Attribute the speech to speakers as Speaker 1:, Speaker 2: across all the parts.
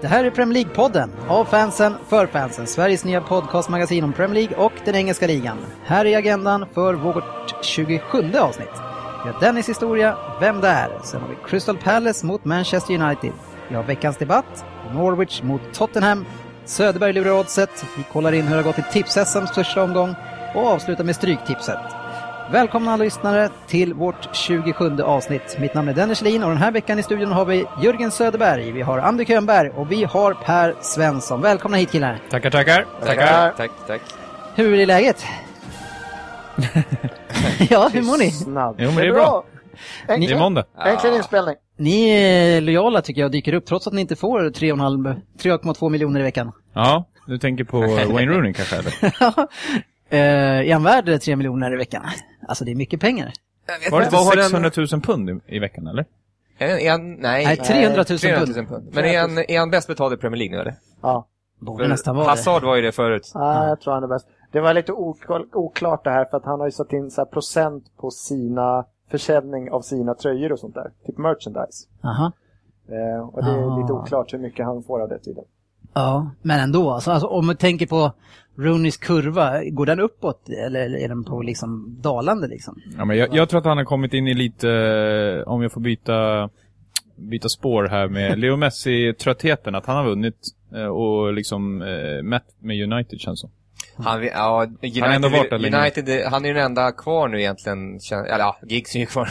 Speaker 1: Det här är Premier League-podden, av fansen, för fansen. Sveriges nya podcastmagasin om Premier League och den engelska ligan. Här är agendan för vårt 27 avsnitt. Vi har Dennis historia, Vem där? Sen har vi Crystal Palace mot Manchester United. Vi har veckans debatt, Norwich mot Tottenham, Söderberg lurar oddset, vi kollar in hur det har gått i tips första omgång och avslutar med Stryktipset. Välkomna alla lyssnare till vårt 27 avsnitt. Mitt namn är Dennis Lin och den här veckan i studion har vi Jörgen Söderberg, vi har Andy Könberg och vi har Per Svensson. Välkomna hit killar!
Speaker 2: Tackar, tackar.
Speaker 3: Tackar. Tack, tack.
Speaker 1: Hur är läget? ja, hur mår ni?
Speaker 4: Snabb.
Speaker 2: Jo, men det är bra. Det är
Speaker 4: Äntligen,
Speaker 2: måndag.
Speaker 4: äntligen inspelning.
Speaker 1: Ni är lojala tycker jag och dyker upp trots att ni inte får 3,5 3,2 miljoner i veckan.
Speaker 2: Ja, du tänker på Wayne Rooney kanske? Eller?
Speaker 1: Eh, I en värld 3 miljoner i veckan. Alltså det är mycket pengar.
Speaker 3: Jag vet
Speaker 2: Var det
Speaker 3: inte, vad har
Speaker 2: inte
Speaker 3: den-
Speaker 2: 600 000 pund i, i veckan eller?
Speaker 3: En, en, nej,
Speaker 1: Nej, 300 000
Speaker 3: 300 000
Speaker 1: pund.
Speaker 3: pund. Men är han, är han bäst betald i Premier League nu eller?
Speaker 4: Ja,
Speaker 1: Borde nästan vara det.
Speaker 3: Hazard var ju det förut.
Speaker 4: ah, jag tror han är bäst. Det var lite ok- oklart det här för att han har ju satt in så här procent på sina försäljning av sina tröjor och sånt där. Typ merchandise.
Speaker 1: Aha.
Speaker 4: Eh, och det är
Speaker 1: Ah.
Speaker 4: lite oklart hur mycket han får av det tydligen.
Speaker 1: Ja, men ändå. Alltså, alltså, om man tänker på Rooneys kurva, går den uppåt eller eller är den på liksom dalande liksom?
Speaker 2: Ja, men jag, jag tror att han har kommit in i lite, eh, om jag får byta, byta spår här med Leo Messi-tröttheten, att han har vunnit eh, och liksom eh, mätt med United känns som.
Speaker 3: Han, vi- ja, United,
Speaker 2: Han har ändå varit där länge.
Speaker 3: United, eh, han är ju den enda kvar nu egentligen. kän- Eller ja, Giggs är ju kvar.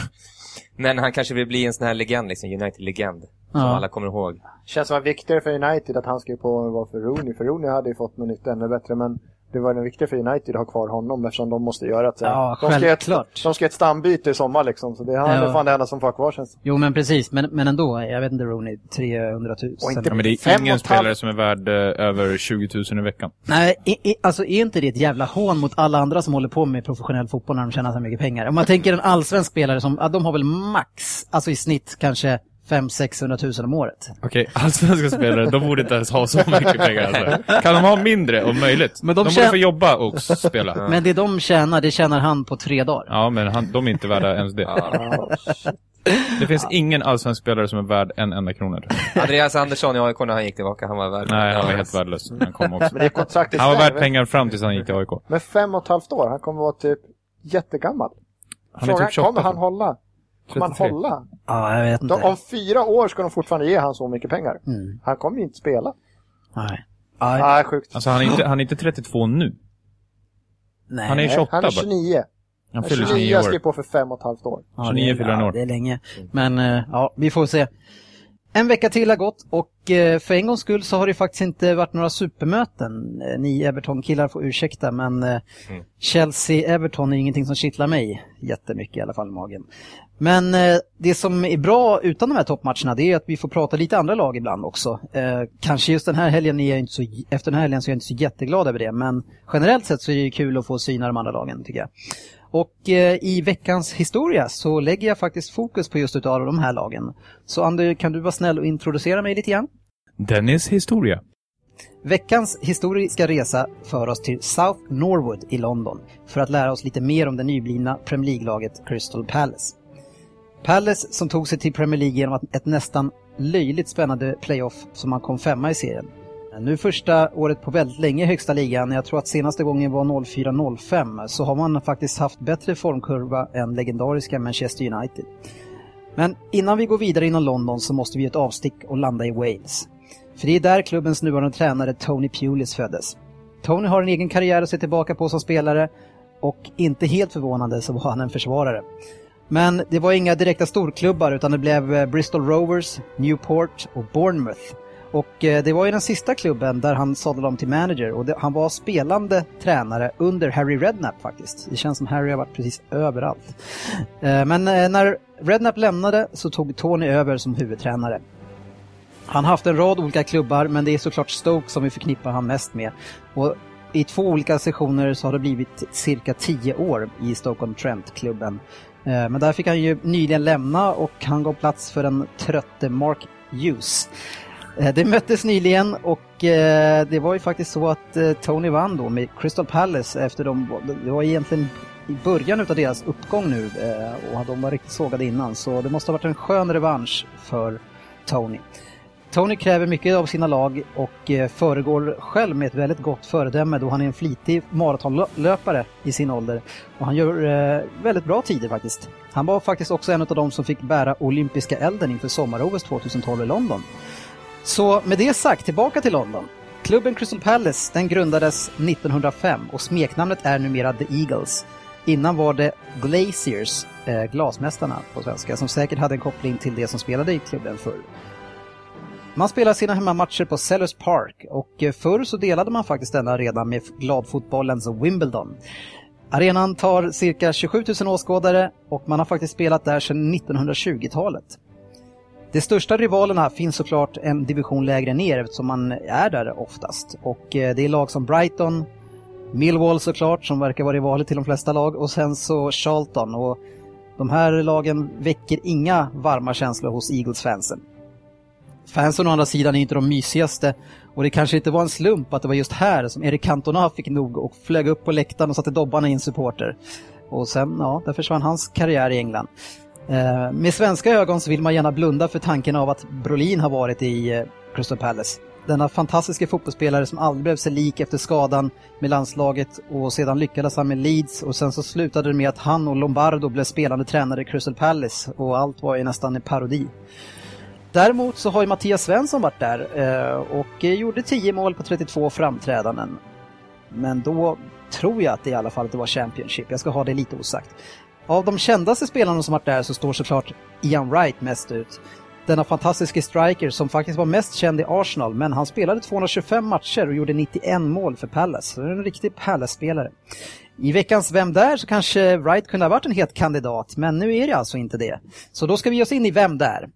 Speaker 3: Men han kanske vill bli en sån här legend, liksom United-legend. Som
Speaker 1: Ja.
Speaker 3: alla kommer ihåg.
Speaker 4: Känns som att viktigare för United att han skrev på vad för Rooney. För Rooney hade ju fått något nytt ännu bättre men det var nog viktigare för United att ha kvar honom eftersom de måste göra ett, så här-
Speaker 1: Ja,
Speaker 4: de ska göra ett,
Speaker 1: självklart.
Speaker 4: de ska göra ett stambyte i sommar liksom. Så det är han
Speaker 1: Ja.
Speaker 4: är fan det enda som får kvar känns det.
Speaker 1: Jo, men precis. Men, men ändå, jag vet inte Rooney, 300 000.
Speaker 4: Och inte-
Speaker 2: Ja, men det
Speaker 4: Fem
Speaker 2: är
Speaker 4: och
Speaker 2: ingen
Speaker 4: ett halvt-
Speaker 2: spelare som är värd eh, över 20 000 i veckan.
Speaker 1: Nej, i, i, alltså är inte det ett jävla hån mot alla andra som håller på med professionell fotboll när de tjänar så mycket pengar? Om man tänker en allsvensk spelare som, ja, de har väl max, alltså i snitt kanske 500-600 000 om året.
Speaker 2: Okej, alltså, allsvenska spelare, de borde inte ens ha så mycket pengar alltså. Kan de ha mindre om möjligt?
Speaker 1: Men
Speaker 2: Men
Speaker 1: de
Speaker 2: de
Speaker 1: tjän-
Speaker 2: borde få jobba och s- spela.
Speaker 1: Men det de tjänar, det tjänar han på tre dagar.
Speaker 2: Ja, men han, de är inte värda ens det.
Speaker 4: Ja,
Speaker 2: Det finns ingen allsvensk spelare som är värd en enda krona. tror jag.
Speaker 3: Andreas Andersson i AIK när han gick tillbaka, han var värd.
Speaker 2: Nej, han var helt värdelös när han kom också.
Speaker 4: men det är kontraktet
Speaker 2: Han var
Speaker 4: där,
Speaker 2: värd pengar fram tills han gick till AIK.
Speaker 4: Men fem och ett halvt år, han kommer vara typ jättegammal.
Speaker 2: Han är
Speaker 4: Frågan,
Speaker 2: typ 28.
Speaker 4: kommer han hålla? Kommer han
Speaker 2: 33?
Speaker 4: hålla?
Speaker 1: Ja, jag vet inte.
Speaker 4: De, om fyra år ska de fortfarande ge han så mycket pengar.
Speaker 1: Mm.
Speaker 4: Han kommer ju inte spela.
Speaker 1: Nej.
Speaker 4: Nej,
Speaker 1: Ja,
Speaker 4: sjukt.
Speaker 2: Alltså han är, inte, han är inte 32 nu.
Speaker 1: nej.
Speaker 2: Han är
Speaker 4: Nej,
Speaker 2: 28
Speaker 4: han är
Speaker 2: bara.
Speaker 4: 29.
Speaker 2: Han fyller 29
Speaker 4: 29 skrev
Speaker 2: år.
Speaker 4: på för fem och ett halvt år.
Speaker 1: Ja,
Speaker 2: 29
Speaker 1: det,
Speaker 2: fyller han
Speaker 1: ja,
Speaker 2: år.
Speaker 1: Det är länge. Men eh, ja, vi får se. En vecka till har gått och eh, för en gångs skull så har det faktiskt inte varit några supermöten. Eh, Ni Everton-killar får ursäkta men eh,
Speaker 2: Mm.
Speaker 1: Chelsea-Everton är ingenting som kittlar mig jättemycket i alla fall i magen. Men eh, det som är bra utan de här toppmatcherna det är att vi får prata lite andra lag ibland också. Eh, kanske just den här helgen, är jag inte så, efter den här helgen så är jag inte så jätteglad över det men generellt sett så är det kul att få syna de andra lagen tycker jag. Och eh, i veckans historia så lägger jag faktiskt fokus på just utav de här lagen. Så Andy, kan du vara snäll och introducera mig lite grann?
Speaker 2: Dennis historia.
Speaker 1: Veckans historiska resa för oss till South Norwood i London för att lära oss lite mer om det nyblivna Premier League-laget Crystal Palace. Palace som tog sig till Premier League genom att- ett nästan löjligt spännande playoff som man kom femma i serien. Nu första året på väldigt länge i högsta ligan, jag tror att senaste gången var 04-05, så har man faktiskt haft bättre formkurva än legendariska Manchester United. Men innan vi går vidare inom London så måste vi göra ett avstick och landa i Wales. För det är där klubbens nuvarande tränare Tony Pulis föddes. Tony har en egen karriär att se tillbaka på som spelare och inte helt förvånande så var han en försvarare. Men det var inga direkta storklubbar utan det blev eh, Bristol Rovers, Newport och Bournemouth. Och eh, det var ju den sista klubben där han sadlade om till manager och det, han var spelande tränare under Harry Redknapp faktiskt. Det känns som Harry har varit precis överallt. Eh, Men eh, när Redknapp lämnade så tog Tony över som huvudtränare. Han har haft en rad olika klubbar, men det är såklart Stoke som vi förknippar han mest med. Och I två olika sessioner så har det blivit cirka 10 år i Stockholm-Trent-klubben. Eh, Men där fick han ju nyligen lämna och han gav plats för den trötte Mark Hughes. Eh, Det möttes nyligen och eh, det var ju faktiskt så att eh, Tony vann då med Crystal Palace efter de, det var egentligen i början utav deras uppgång nu eh, och de var riktigt sågade innan så det måste ha varit en skön revansch för Tony. Tony kräver mycket av sina lag och eh, föregår själv med ett väldigt gott föredöme då han är en flitig maratonlöpare i sin ålder. Och han gör eh, väldigt bra tider faktiskt. Han var faktiskt också en av de som fick bära olympiska elden inför sommar 2012 i London. Så med det sagt, tillbaka till London. Klubben Crystal Palace den grundades 1905 och smeknamnet är numera The Eagles. Innan var det Glaciers, eh, glasmästarna på svenska, som säkert hade en koppling till det som spelade i klubben förr. Man spelar sina hemmamatcher på Sellers Park och eh, förr så delade man faktiskt denna redan med gladfotbollens Wimbledon. Arenan tar cirka 27 000 åskådare och man har faktiskt spelat där sedan 1920-talet. De största rivalerna finns såklart en division lägre ner eftersom man är där oftast. Och eh, det är lag som Brighton, Millwall såklart som verkar vara rivaler till de flesta lag och sen så Charlton. Och de här lagen väcker inga varma känslor hos Eagles-fansen. Fansen å andra sidan är inte de mysigaste och det kanske inte var en slump att det var just här som Eric Cantona fick nog och flög upp på läktaren och satte dobban i en supporter. Och sen, ja, där försvann hans karriär i England. Eh, med svenska ögon så vill man gärna blunda för tanken av att Brolin har varit i eh, Crystal Palace. Denna fantastiska fotbollsspelare som aldrig blev sig lik efter skadan med landslaget och sedan lyckades han med Leeds och sen så slutade det med att han och Lombardo blev spelande tränare i Crystal Palace och allt var ju nästan en parodi. Däremot så har ju Mattias Svensson varit där eh, och eh, gjorde 10 mål på 32 framträdanden. Men då tror jag att det i alla fall att det var Championship, jag ska ha det lite osagt. Av de kändaste spelarna som varit där så står såklart Ian Wright mest ut. Denna fantastiska striker som faktiskt var mest känd i Arsenal, men han spelade 225 matcher och gjorde 91 mål för Palace. Så det är en riktig Palace-spelare. I veckans Vem där så kanske Wright kunde ha varit en het kandidat, men nu är det alltså inte det. Så då ska vi ge oss in i Vem där?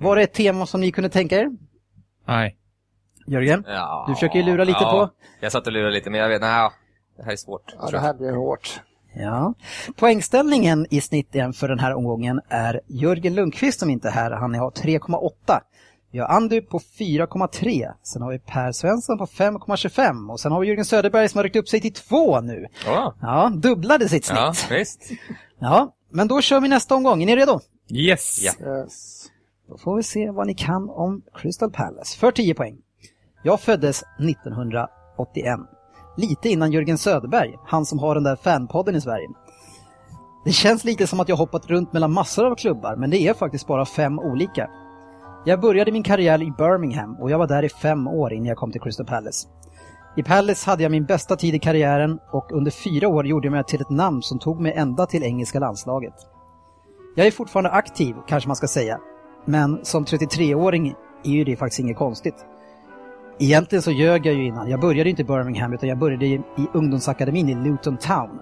Speaker 1: Var det ett tema som ni kunde tänka er?
Speaker 2: Nej.
Speaker 1: Jörgen?
Speaker 3: Ja,
Speaker 1: Du försöker ju lura lite på.
Speaker 3: Jag satt och lurade lite, men jag vet, nej, det här är svårt.
Speaker 4: Ja,
Speaker 3: tror
Speaker 4: det
Speaker 3: jag.
Speaker 4: här blir hårt.
Speaker 1: Ja. Poängställningen i snitt igen för den här omgången är Jörgen Lundqvist som inte är här, han har 3,8. Vi har Andu på 4,3. Sen har vi Per Svensson på 5,25 och sen har vi Jörgen Söderberg som har ryckt upp sig till 2 nu.
Speaker 3: Ja,
Speaker 1: Ja, dubblade sitt snitt.
Speaker 3: ja
Speaker 1: Ja.
Speaker 3: visst.
Speaker 1: men då kör vi nästa omgång. Är ni redo?
Speaker 2: Yes!
Speaker 3: Ja.
Speaker 4: Yes.
Speaker 1: Då får vi se vad ni kan om Crystal Palace. För 10 poäng. Jag föddes 1981. Lite innan Jörgen Söderberg, han som har den där fanpodden i Sverige. Det känns lite som att jag hoppat runt mellan massor av klubbar, men det är faktiskt bara fem olika. Jag började min karriär i Birmingham och jag var där i fem år innan jag kom till Crystal Palace. I Palace hade jag min bästa tid i karriären och under fyra år gjorde jag mig till ett namn som tog mig ända till engelska landslaget. Jag är fortfarande aktiv, kanske man ska säga, men som 33-åring är ju det faktiskt inget konstigt. Egentligen så ljög jag ju innan. Jag började ju inte i Birmingham utan jag började i i ungdomsakademin i Luton Town.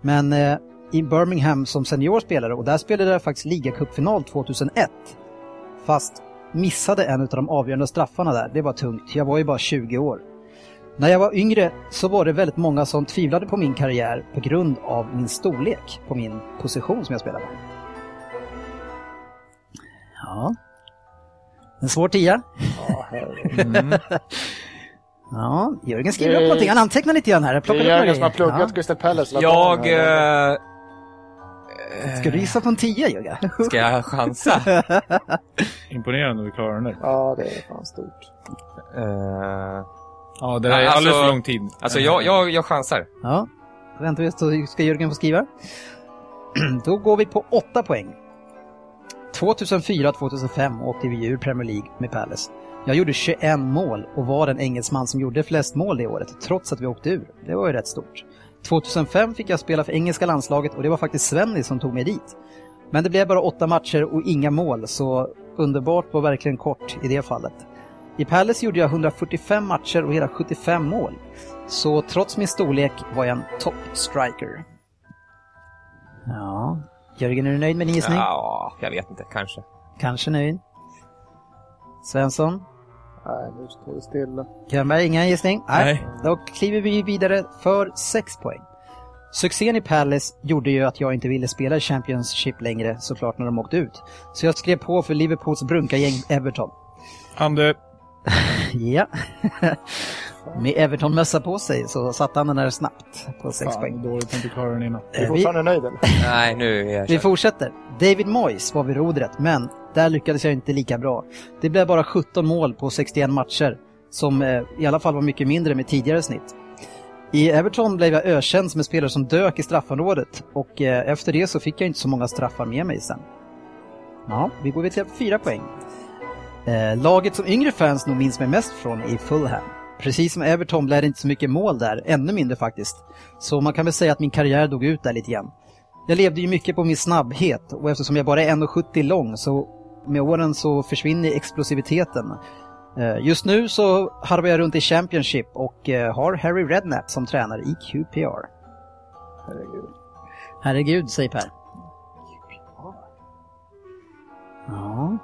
Speaker 1: Men eh, i Birmingham som seniorspelare och där spelade jag faktiskt ligacupfinal 2001. Fast missade en av de avgörande straffarna där. Det var tungt. Jag var ju bara 20 år. När jag var yngre så var det väldigt många som tvivlade på min karriär på grund av min storlek på min position som jag spelade. Ja. En svår tia.
Speaker 4: Ja, herregud.
Speaker 1: Ja, Jörgen skriver
Speaker 4: Det är-
Speaker 1: upp någonting. Han antecknar lite grann här. Jag
Speaker 4: Det
Speaker 1: plockar
Speaker 4: är
Speaker 1: upp några
Speaker 4: Jörgen som har
Speaker 1: grejer.
Speaker 4: pluggat Crystal Palace. vad var
Speaker 3: Jag...
Speaker 4: den här?
Speaker 3: eh,
Speaker 1: Ja. Ska du gissa på en tia, Jörgen?
Speaker 3: Ska jag chansa? Eh,
Speaker 2: Imponerande att vi klarar den där.
Speaker 4: Ja, det är fan stort.
Speaker 2: Ja, det här är
Speaker 3: Alltså-
Speaker 2: alldeles för lång tid.
Speaker 3: Eh, alltså, jag, jag, jag chansar.
Speaker 1: Ja. Då väntar vi så ska Jörgen få skriva. Då går vi på åtta poäng. 2004-2005 åkte vi ur Premier League med Palace. Jag gjorde 21 mål och var den engelsman som gjorde flest mål det året, trots att vi åkte ur. Det var ju rätt stort. 2005 fick jag spela för engelska landslaget och det var faktiskt Svenny som tog mig dit. Men det blev bara åtta matcher och inga mål, så underbart var verkligen kort i det fallet. I Palace gjorde jag 145 matcher och hela 75 mål. Så trots min storlek var jag en toppstriker. Ja, Jörgen är du nöjd med din gissning?
Speaker 3: Ja, jag vet inte, kanske.
Speaker 1: Kanske nöjd. Svensson?
Speaker 4: Nej, nu står det stilla.
Speaker 1: Grönberg, ingen gissning?
Speaker 2: Nej.
Speaker 1: Då kliver vi vidare för 6 poäng. Succén i Palace gjorde ju att jag inte ville spela i Championship längre såklart när de åkte ut. Så jag skrev på för Liverpools brunkargäng Everton.
Speaker 2: Ande,
Speaker 1: Ja. Med Everton-mössa på sig så satte han den där snabbt på 6 poäng.
Speaker 2: fan, dåligt att du klarade den innan.
Speaker 4: Du är
Speaker 1: Eh, vi-
Speaker 4: fortfarande nöjd eller?
Speaker 3: Nej, nu är jag
Speaker 1: Vi
Speaker 3: kört.
Speaker 1: fortsätter. David Moyes var vid rodret, men där lyckades jag inte lika bra. Det blev bara 17 mål på 61 matcher, som eh, i alla fall var mycket mindre med tidigare snitt. I Everton blev jag ökänd som en spelare som dök i straffområdet och eh, efter det så fick jag inte så många straffar med mig sen. Ja, vi går vidare till fyra poäng. Eh, laget som yngre fans nog minns mig mest från är Fulham. Precis som Everton blev det inte så mycket mål där, ännu mindre faktiskt. Så man kan väl säga att min karriär dog ut där lite grann. Jag levde ju mycket på min snabbhet och eftersom jag bara är 1,70 lång så med åren så försvinner explosiviteten. Eh, Just nu så harvar jag runt i Championship och eh, har Harry Redknapp som tränare i QPR.
Speaker 4: Herregud.
Speaker 1: Herregud, säger Per. Ja.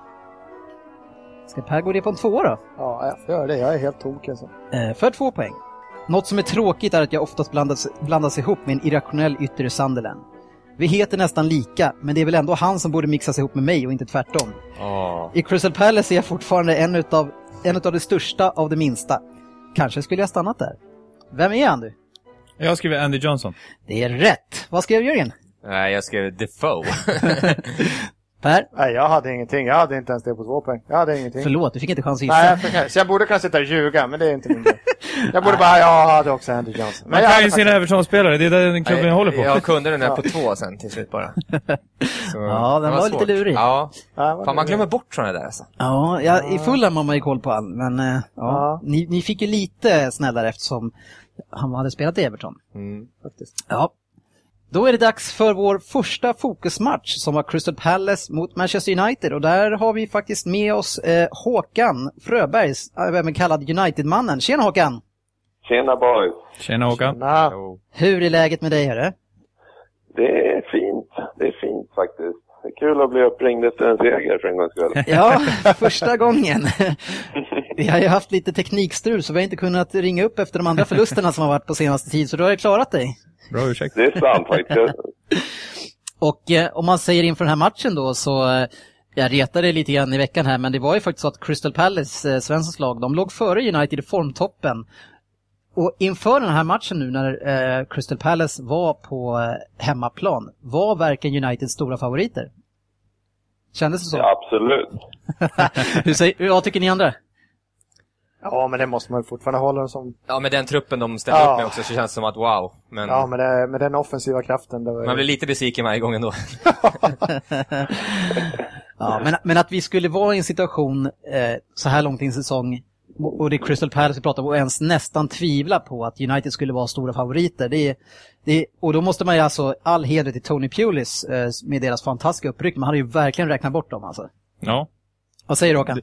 Speaker 1: Ska Per gå ner på en tvåa då?
Speaker 4: Ja, jag får göra det. Jag är helt tom alltså.
Speaker 1: Eh, För två poäng. Något som är tråkigt är att jag oftast blandas, blandas ihop med en irrationell yttre Sunderland. Vi heter nästan lika, men det är väl ändå han som borde mixas ihop med mig och inte tvärtom.
Speaker 3: Ja.
Speaker 1: I Crystal Palace är jag fortfarande en utav, en utav de största av de minsta. Kanske skulle jag stannat där. Vem är han du?
Speaker 2: Jag skriver Andy Johnson.
Speaker 1: Det är rätt! Vad skrev Jörgen?
Speaker 3: Nej, jag skrev Defoe.
Speaker 1: Per,
Speaker 4: Nej, jag hade ingenting. Jag hade inte ens det på två poäng. Jag hade ingenting.
Speaker 1: förlåt, du fick inte chans att
Speaker 4: Nej,
Speaker 1: gissa.
Speaker 4: jag fick- så jag borde kunna sitta och ljuga, men det är inte min grej. Jag borde bara, jag hade också Andy Johnson.
Speaker 2: Man
Speaker 4: jag
Speaker 2: kan
Speaker 4: hade
Speaker 2: ju sina
Speaker 4: faktiskt-
Speaker 2: Everton-spelare, det är den klubben jag håller på.
Speaker 3: Jag kunde den där på
Speaker 4: Ja.
Speaker 3: två sen till slut bara. Så,
Speaker 1: Ja, den
Speaker 3: det
Speaker 1: var lite
Speaker 3: svårt.
Speaker 1: lurig.
Speaker 3: Ja.
Speaker 4: Ja, vad
Speaker 3: Fan, man
Speaker 4: det?
Speaker 3: glömmer bort såna där alltså.
Speaker 1: Ja, jag, i Fulham har man ju koll på allt, men eh, ja.
Speaker 4: Ja.
Speaker 1: Ni, ni fick ju lite snällare eftersom han hade spelat i Everton.
Speaker 3: Mm.
Speaker 1: Ja. Då är det dags för vår första fokusmatch som var Crystal Palace mot Manchester United och där har vi faktiskt med oss eh, Håkan Fröbergs, även kallad United-mannen. Tjena Håkan!
Speaker 5: Tjena boys!
Speaker 2: Tjena Håkan.
Speaker 4: Nej,
Speaker 3: Jo.
Speaker 1: Hur är läget med dig hörru?
Speaker 5: Det är fint. Det är fint faktiskt. Det är kul att bli uppringd efter en seger för en gångs skull.
Speaker 1: Ja, första gången. Vi har ju haft lite teknikstrul så vi har inte kunnat ringa upp efter de andra förlusterna som har varit på senaste tid så du har ju klarat dig.
Speaker 2: Bra ursäkt.
Speaker 5: Det är sant faktiskt.
Speaker 1: Och eh, om man säger inför den här matchen då så eh, jag retade lite grann i veckan här, men det var ju faktiskt så att Crystal Palace, eh, Svenssons lag, de låg före United i formtoppen. Och inför den här matchen nu när eh, Crystal Palace var på eh, hemmaplan, var verkligen Uniteds stora favoriter? Kändes det så?
Speaker 5: Ja, absolut.
Speaker 1: Hur säger, vad tycker ni andra?
Speaker 4: Ja, men det måste man ju fortfarande hålla den som...
Speaker 3: Ja, med den truppen de ställer
Speaker 4: Ja.
Speaker 3: upp med också så känns det som att wow. Men
Speaker 4: Ja, men det, med den offensiva kraften. Det var ju...
Speaker 3: man blir lite besviken varje gång ändå.
Speaker 1: Ja, men, men att vi skulle vara i en situation eh, så här långt in i säsong och det är Crystal Palace vi pratar om och ens nästan tvivla på att United skulle vara stora favoriter. Det är, det är, och då måste man ju alltså all heder till Tony Pulis eh, med deras fantastiska uppryck. Man hade ju verkligen räknat bort dem alltså.
Speaker 2: Ja.
Speaker 1: Vad säger du Håkan?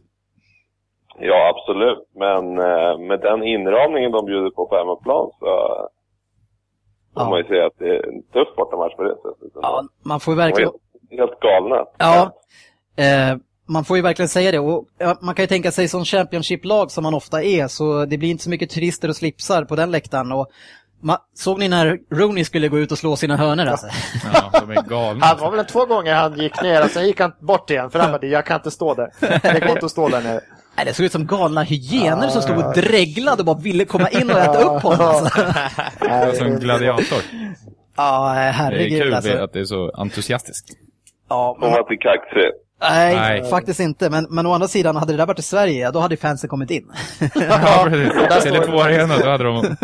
Speaker 5: Ja, absolut. Men eh, med den inramningen de bjuder på på hemmaplan så får
Speaker 1: Ja.
Speaker 5: man ju säga att det är en tuff bortamatch på det sättet.
Speaker 1: Ja, man får ju
Speaker 5: De var
Speaker 1: verkligen...
Speaker 5: helt, helt galna.
Speaker 1: Ja. Eh, man får ju verkligen säga det. Och, ja, man kan ju tänka sig som Championship-lag som man ofta är, så det blir inte så mycket turister och slipsar på den läktaren. Och, ma- såg ni när Rooney skulle gå ut och slå sina hörnor alltså?
Speaker 2: ja, de är galna.
Speaker 4: Han var väl en två gånger han gick ner, och sen gick han bort igen. För han bara, jag kan inte stå där. Det går inte att stå där nere.
Speaker 1: Nej, det såg ut som galna hyener som stod och dreglade och bara ville komma in och äta upp honom. Alltså.
Speaker 4: Nej,
Speaker 2: Som gladiator.
Speaker 1: Ja,
Speaker 2: Det är kul
Speaker 1: herregud alltså.
Speaker 2: att det är så entusiastiskt.
Speaker 1: Ja,
Speaker 5: De
Speaker 1: men,
Speaker 5: var inte kaxiga.
Speaker 1: nej,
Speaker 2: Nej.
Speaker 1: faktiskt inte. Men, men å andra sidan, hade det där varit i Sverige, ja, då hade ju fansen kommit in.
Speaker 2: Ja, precis.
Speaker 4: står det
Speaker 2: Tele2 Arena, då hade de...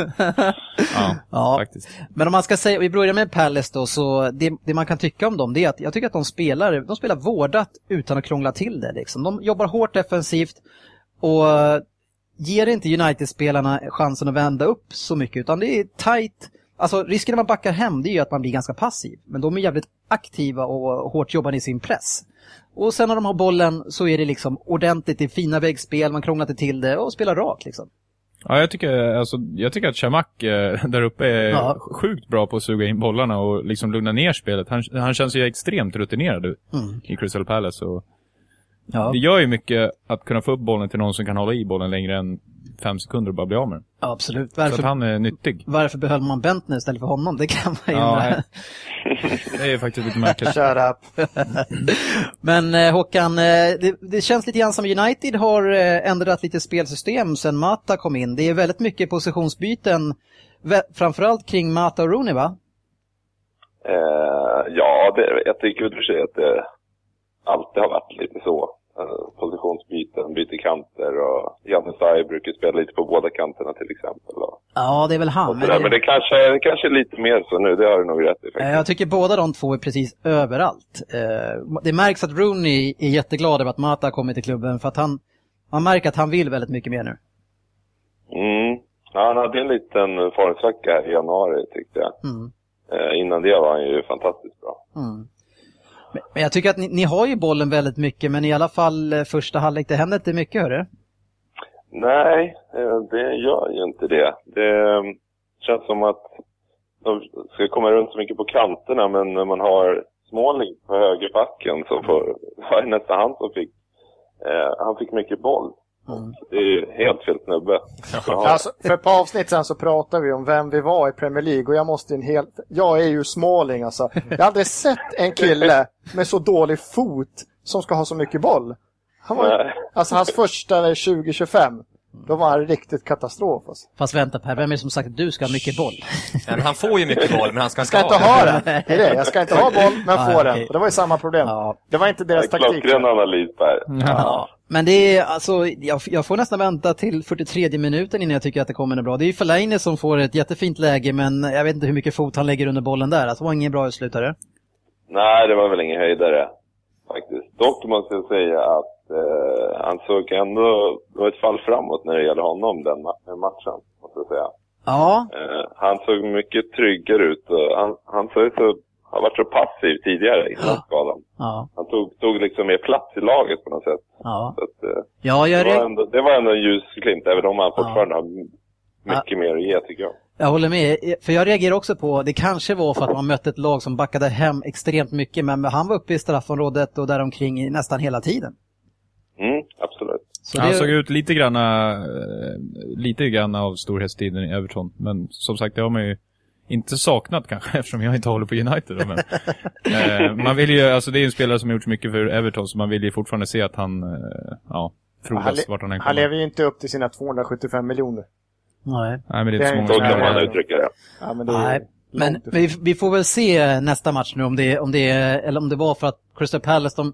Speaker 2: Ja,
Speaker 1: Ja.
Speaker 2: faktiskt.
Speaker 1: Men om man ska säga, vi börjar med Palace då, så det, det man kan tycka om dem det är att jag tycker att de spelar, de spelar vårdat utan att krångla till det liksom. De jobbar hårt defensivt och ger inte United-spelarna chansen att vända upp så mycket utan det är tight. Alltså risken när man backar hem det är ju att man blir ganska passiv. Men de är jävligt aktiva och hårt jobbande i sin press. Och sen när de har bollen så är det liksom ordentligt, det är fina väggspel, man krånglar inte till det och spelar rakt liksom.
Speaker 2: Ja, jag tycker, alltså, jag tycker att Chamak eh, där uppe är
Speaker 1: Ja.
Speaker 2: sjukt bra på att suga in bollarna och liksom lugna ner spelet. Han, han känns ju extremt rutinerad ut
Speaker 1: Mm.
Speaker 2: i Crystal Palace. Och
Speaker 1: Ja,
Speaker 2: Det gör ju mycket att kunna få upp bollen till någon som kan hålla i bollen längre än fem sekunder och bara bli av med den.
Speaker 1: absolut.
Speaker 2: Så
Speaker 1: Varför,
Speaker 2: att han är nyttig.
Speaker 1: varför behöll man Bentner istället för honom? Det kan man ju
Speaker 2: Ja,
Speaker 1: undra.
Speaker 2: nej. Det är faktiskt lite märkligt.
Speaker 4: Shut up.
Speaker 1: Men eh, Håkan, eh, det, det känns lite grann som United har eh, ändrat lite spelsystem sedan Mata kom in. Det är väldigt mycket positionsbyten, vä- framförallt kring Mata och Rooney va?
Speaker 5: Eh, ja, det, jag tycker väl för sig att det alltid har varit lite så. Eh, positionsbyten, byter kanter och Janne Sarri brukar spela lite på båda kanterna till exempel. Och,
Speaker 1: Ja, det är väl han.
Speaker 5: och sådär. Men det kanske, det kanske är lite mer så nu, det har du nog rätt i
Speaker 1: Eh,
Speaker 5: faktiskt.
Speaker 1: Jag tycker båda de två är precis överallt. Eh, Det märks att Rooney är jätteglad över att Mata har kommit till klubben för att han, man märker att han vill väldigt mycket mer nu.
Speaker 5: Mm. Ja, han hade en liten formsvacka här i januari tyckte jag.
Speaker 1: Mm.
Speaker 5: Eh, innan det var han ju fantastiskt bra.
Speaker 1: Mm. Men- Men jag tycker att ni, ni har ju bollen väldigt mycket, men i alla fall eh, första halvlek, det händer inte mycket hörru.
Speaker 5: Nej, eh, det gör ju inte det. Det eh, känns som att de ska komma runt så mycket på kanterna men när man har Småling på högerbacken så får, var det nästan han som fick eh, han fick mycket boll.
Speaker 1: Mm.
Speaker 5: Det är ju helt fel snubbe. Ja.
Speaker 4: Alltså, för ett par avsnitt sen så pratade vi om vem vi var i Premier League och jag måste ju en helt... Jag är ju småling alltså. Jag har aldrig sett en kille med så dålig fot som ska ha så mycket boll. Han var,
Speaker 5: Nej.
Speaker 4: alltså hans första 2025, då var han riktigt katastrof alltså.
Speaker 1: Fast vänta Per, vem är det som sagt att du ska ha mycket boll?
Speaker 3: Men han får ju mycket boll, men han ska inte
Speaker 4: Jag ska inte
Speaker 3: ha
Speaker 4: ha den. Det är det. Jag ska inte ha boll, men
Speaker 1: Ah,
Speaker 4: få
Speaker 1: okej.
Speaker 4: den. Och det var ju samma problem.
Speaker 1: Ja.
Speaker 4: Det var inte deras taktik.
Speaker 5: Klockren analys där.
Speaker 1: Ja. Men det är alltså, jag, jag får nästan vänta till 43 minuten innan jag tycker att det kommer något bra. Det är ju Fellaini som får ett jättefint läge, men jag vet inte hur mycket fot han lägger under bollen där. Alltså, det var ingen bra utslutare.
Speaker 5: Nej, det var väl ingen höjdare faktiskt. Dock måste jag säga att eh, han såg ändå, det var ett fall framåt när det gäller honom den ma- matchen, måste jag säga.
Speaker 1: Ja,
Speaker 5: Eh, han såg mycket tryggare ut. Och han han såg ut att ha varit så passiv tidigare innan skadan.
Speaker 1: ja,
Speaker 5: Han tog, tog liksom mer plats i laget på något sätt.
Speaker 1: ja.
Speaker 5: Så att, eh,
Speaker 1: Ja, jag,
Speaker 5: det, var
Speaker 1: reag-
Speaker 5: ändå, det var ändå en ljusglimt, även om han fortfarande har m- mycket mer att ge tycker jag.
Speaker 1: jag håller med. Eh, För jag reagerar också på, det kanske var för att man mötte ett lag som backade hem extremt mycket, men han var uppe i straffområdet och däromkring i nästan hela tiden.
Speaker 5: Mm, absolut.
Speaker 1: Så
Speaker 2: Han
Speaker 1: det-
Speaker 2: såg ut lite grann, lite grann av storhetstiden i Everton. Men som sagt, det har man ju inte saknat kanske eftersom jag inte håller på United. då, Men, eh, man vill ju, alltså det är ju en spelare som har gjort så mycket för Everton så man vill ju fortfarande se att han eh, ja, frodas
Speaker 4: Han le-
Speaker 2: vart han än
Speaker 4: Han
Speaker 2: kommer.
Speaker 4: lever ju inte upp till sina 275 miljoner.
Speaker 1: Nej.
Speaker 2: Nej, men det är inte så
Speaker 4: Det
Speaker 2: många som
Speaker 4: är inte-
Speaker 5: Så kan
Speaker 2: gör det.
Speaker 5: man uttrycka det.
Speaker 4: Ja, men det är
Speaker 1: Nej.
Speaker 4: ju
Speaker 1: Men
Speaker 4: långt ifrån.
Speaker 1: vi, vi får väl se nästa match nu om det, om det, är- eller om det var för att Crystal Palace, de,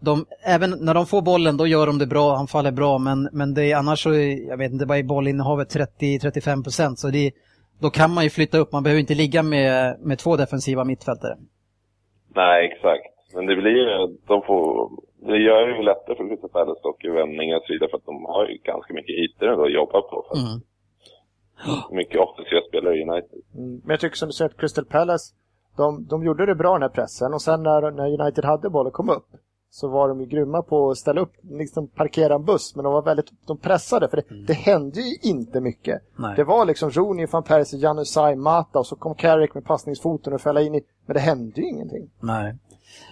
Speaker 1: de, även när de får bollen då gör de det bra, han faller bra, men, men det är annars så, är- jag vet inte, vad är bollinnehavet 30-35 procent, så det, då kan man ju flytta upp, man behöver inte ligga med, med två defensiva mittfältare.
Speaker 5: Nej, exakt. Men det blir ju, de får, det gör ju lättare för Crystal Palace dock i vändningar och så vidare för att de har ju ganska mycket ytor ändå att jobba på. För att
Speaker 1: Mm.
Speaker 5: Mycket offensiva spelare i United.
Speaker 4: Mm. Men jag tycker som du säger att Crystal Palace, de, de gjorde det bra den här pressen och sen när, när United hade bollen och kom upp så var de ju grymma på att ställa upp, liksom parkera en buss, men de var väldigt, de pressade för det, det hände ju inte mycket.
Speaker 1: Mm. Nej.
Speaker 4: Det var liksom Rooney, van Persie, Janusaj, Mata och så kom Carrick med passningsfoten och fälla in i, men det hände ju ingenting.
Speaker 1: Nej.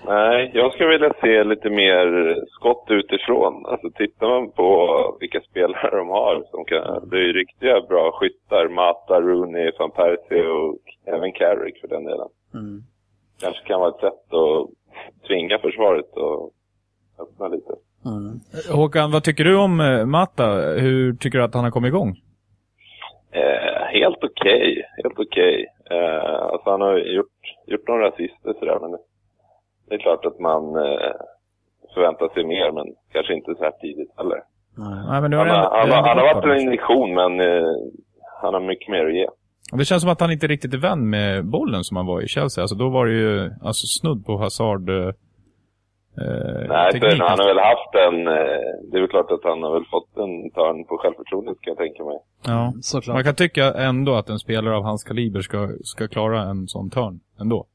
Speaker 5: Nej, jag skulle vilja se lite mer skott utifrån. Alltså tittar man på vilka spelare de har, som kan, det är ju riktiga bra skyttar. Mata, Rooney, van Persie och även Carrick för den delen.
Speaker 1: Mm.
Speaker 5: Kanske kan vara ett sätt att tvinga försvaret och öppna lite.
Speaker 1: Mm.
Speaker 2: Håkan, vad tycker du om eh, Mata? Hur tycker du att han har kommit igång?
Speaker 5: Eh, helt okej, helt okej. Eh, alltså han har ju gjort, gjort några assister sådär men det, det är klart att man eh, förväntar sig mer men kanske inte så här tidigt heller.
Speaker 1: Nej.
Speaker 2: Nej, men nu har
Speaker 5: Han,
Speaker 2: det ändå-
Speaker 5: har- han,
Speaker 2: det
Speaker 5: har-
Speaker 2: har ändå
Speaker 5: han
Speaker 2: gått
Speaker 5: har varit
Speaker 2: bra. liksom.
Speaker 5: en injektion men eh, han har mycket mer att ge.
Speaker 2: Och Det känns som att han inte riktigt är vän med bollen som han var i Chelsea. Alltså då var det ju alltså, snudd på Hazard eh,
Speaker 5: Nej, så,
Speaker 2: teknik.
Speaker 5: han har väl haft en, eh, det är väl klart att han har väl fått en törn på självförtroendet kan jag tänka mig.
Speaker 2: ja.
Speaker 1: Såklart.
Speaker 2: Man kan tycka ändå att en spelare av hans kaliber ska, ska klara en sån turn ändå.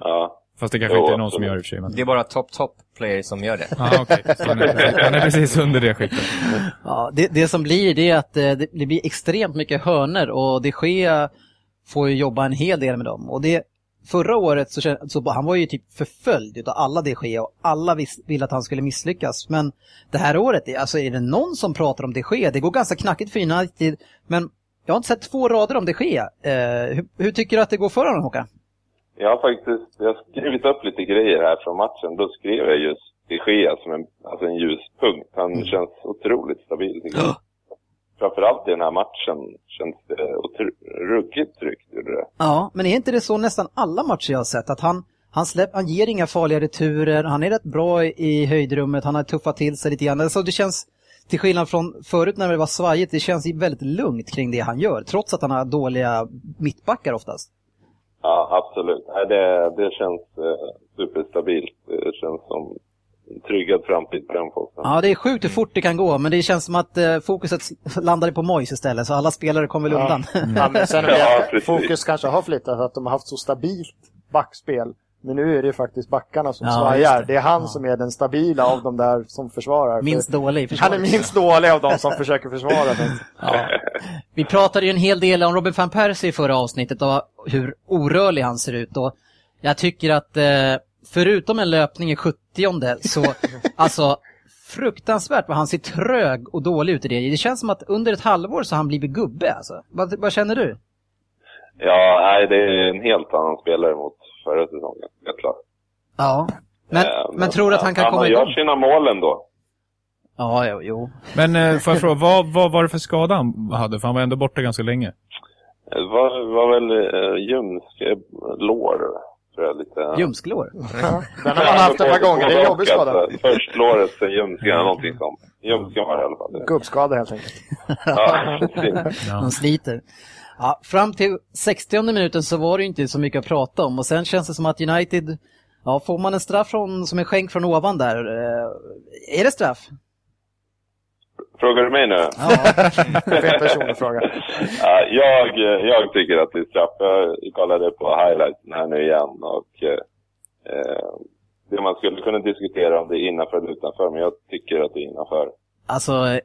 Speaker 5: Ja,
Speaker 2: Fast det kanske
Speaker 5: Jo,
Speaker 2: inte är någon som
Speaker 5: absolut.
Speaker 2: gör det i och för sig. Men...
Speaker 3: den. Det är bara top, top player som gör det.
Speaker 2: Ah, okej. Så han, är precis, han är precis under det skiktet.
Speaker 1: Ja, det, det som blir det är att eh, det, det blir extremt mycket hörner och det sker får ju jobba en hel del med dem. Och det, förra året så, kände, så han var ju typ förföljd utav alla de Gea och alla vis, ville att han skulle misslyckas. Men det här året, är- alltså är det någon som pratar om de Gea? Det går ganska knackigt för United, men jag har inte sett två rader om de Gea. Eh, hur, hur tycker du att det går för honom Håkan?
Speaker 5: Jag har faktiskt jag har skrivit upp lite grejer här från matchen. Då skrev jag just De Gea som en, alltså en ljuspunkt. Han
Speaker 2: Mm.
Speaker 5: känns otroligt stabil. tycker jag. Framförallt i den här matchen känns det otro, ruggigt tryggt. Gjorde det.
Speaker 1: Ja, men är inte det så nästan alla matcher jag har sett? Att han, han, släpp, han ger inga farliga returer, han är rätt bra i- i höjdrummet, han har tuffat till sig lite grann. Alltså det känns, till skillnad från förut när det var svajigt, det känns väldigt lugnt kring det han gör. Trots att han har dåliga mittbackar oftast.
Speaker 5: Ja, absolut. Nej, det, det känns eh, superstabilt. Det känns som en tryggad framtid på den posten.
Speaker 1: Ja, det är sjukt hur fort det kan gå, men det känns som att eh, fokuset s- landade på Moise istället, så alla spelare kommer väl
Speaker 4: Ja.
Speaker 1: undan.
Speaker 4: Ja, men sen
Speaker 5: Ja,
Speaker 4: ja,
Speaker 5: precis.
Speaker 4: fokus kanske har flyttat för att de har haft så stabilt backspel. Men nu är det ju faktiskt backarna som
Speaker 1: Ja, just
Speaker 4: svajar.
Speaker 1: det.
Speaker 4: Det. är han
Speaker 1: Ja.
Speaker 4: som är den stabila av de där som försvarar.
Speaker 1: Minst
Speaker 4: För-
Speaker 1: dålig i
Speaker 4: han är
Speaker 1: försvaret.
Speaker 4: minst dålig av de som försöker försvara. Den.
Speaker 1: Ja. Vi pratade ju en hel del om Robin van Persie i förra avsnittet och hur orörlig han ser ut. Och jag tycker att eh, förutom en löpning i 70 så alltså fruktansvärt vad han ser trög och dålig ut i det. Det känns som att under ett halvår så har han blivit gubbe alltså. Vad, vad känner du?
Speaker 5: Ja, nej, det är en helt annan spelare mot förra säsongen. Helt klart.
Speaker 1: Ja. Men,
Speaker 5: Eh,
Speaker 1: men tror du att han kan
Speaker 5: ja,
Speaker 1: komma
Speaker 5: Han gör
Speaker 1: igång?
Speaker 5: sina mål ändå.
Speaker 1: Ja, jo, jo.
Speaker 2: Men eh, får jag fråga, vad, vad var det för skada han hade? För han var ändå borta ganska länge.
Speaker 5: Det var, var väl eh, ljumsk eh, lår, tror jag lite.
Speaker 1: Ljumsklår.
Speaker 4: den har man haft ett par gånger. Det är en jobbig skada.
Speaker 5: Alltså, Först låret, sen ljumsken eller någonting sånt. Ljumsken var det i alla fall.
Speaker 4: Gubbskada helt enkelt.
Speaker 5: Ja, precis.
Speaker 2: Ja.
Speaker 1: De sliter. Ja, fram till 60 minuten så var det ju inte så mycket att prata om och sen känns det som att United, ja får man en straff från, som är skänk från ovan där, eh, är det straff?
Speaker 5: Frågar du mig nu?
Speaker 1: Ja,
Speaker 4: Fel person att fråga.
Speaker 2: Alltså,
Speaker 5: Ja, jag, eh, jag tycker att det är straff. Jag kollade på highlighten här nu igen och eh, eh, det man skulle kunna diskutera om det är innanför eller utanför, men jag tycker att det är innanför.
Speaker 1: alltså eh,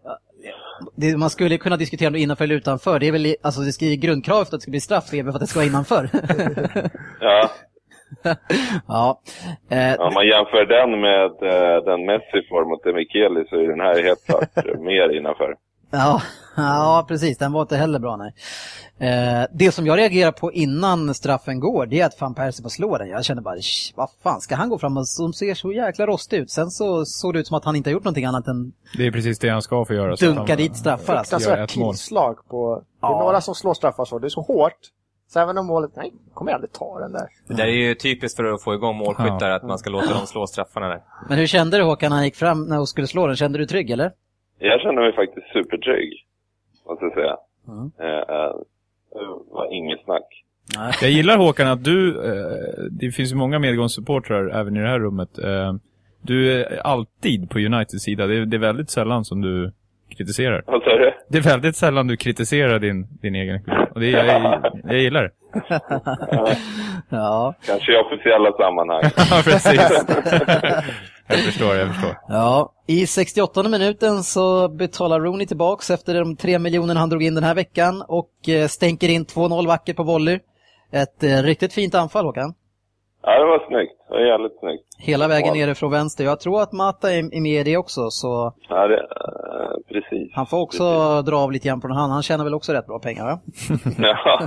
Speaker 1: det man skulle kunna diskutera om det är innanför eller utanför, det är väl i- alltså det ska ju grundkravet för att det ska bli straff är väl för att det ska vara innanför.
Speaker 5: Ja,
Speaker 1: ja. Eh,
Speaker 5: om man jämför den med eh, den Messi får mot Demikeli så är den här helt klart eh, mer innanför.
Speaker 1: Ja, ja, precis. Den var inte heller bra. Nej. Eh, det som jag reagerar på innan straffen går, det är att fan Persie bara slår den. Jag känner bara, "Sh, vad fan ska han gå fram? Och som ser så jäkla rostig ut. Sen så såg det ut som att han inte har gjort någonting annat än
Speaker 2: Det är precis det han ska få göra. så att
Speaker 1: dunka
Speaker 2: han-
Speaker 1: dit straffar. Alltså.
Speaker 2: Gör
Speaker 4: Fruktansvärt
Speaker 2: ett mål.
Speaker 4: tillslag på... Det är
Speaker 1: Ja.
Speaker 4: några som slår straffar så. Det är så hårt. Så även om målet... Nej, kommer jag aldrig ta den där.
Speaker 3: Det där är ju typiskt för att få igång målskyttar, att man ska låta dem slå straffarna där.
Speaker 1: Men hur kände du Håkan när han gick fram när och skulle slå den? Kände du trygg eller?
Speaker 5: Jag känner mig faktiskt supertrygg, måste jag säga.
Speaker 1: Mm.
Speaker 5: Eh, eh, det var inget snack.
Speaker 2: Jag gillar Håkan att du, eh, det finns ju många medgångssupportrar även i det här rummet. Eh, du är alltid på Uniteds sida. Det är, det är väldigt sällan som du kritiserar.
Speaker 5: Vad sa du?
Speaker 2: Det är väldigt sällan du kritiserar din, din egen klubb. Och det, är- jag, jag gillar det.
Speaker 1: Ja,
Speaker 5: Kanske i officiella sammanhang.
Speaker 2: Ja, precis. jag förstår, jag förstår.
Speaker 1: ja. I 68 minuten så betalar Rooney tillbaks efter de tre miljoner han drog in den här veckan och eh, stänker in 2-0 vackert på volley. Ett eh, riktigt fint anfall Håkan.
Speaker 5: ja, det var snyggt. Det var jävligt snyggt.
Speaker 1: Hela vägen
Speaker 5: Wow.
Speaker 1: nere från vänster. Jag tror att Mata är är med i det också, så
Speaker 5: Ja, det, eh, precis.
Speaker 1: han får också dra av lite grann på den hand. Han tjänar väl också rätt bra pengar, va?
Speaker 5: Ja.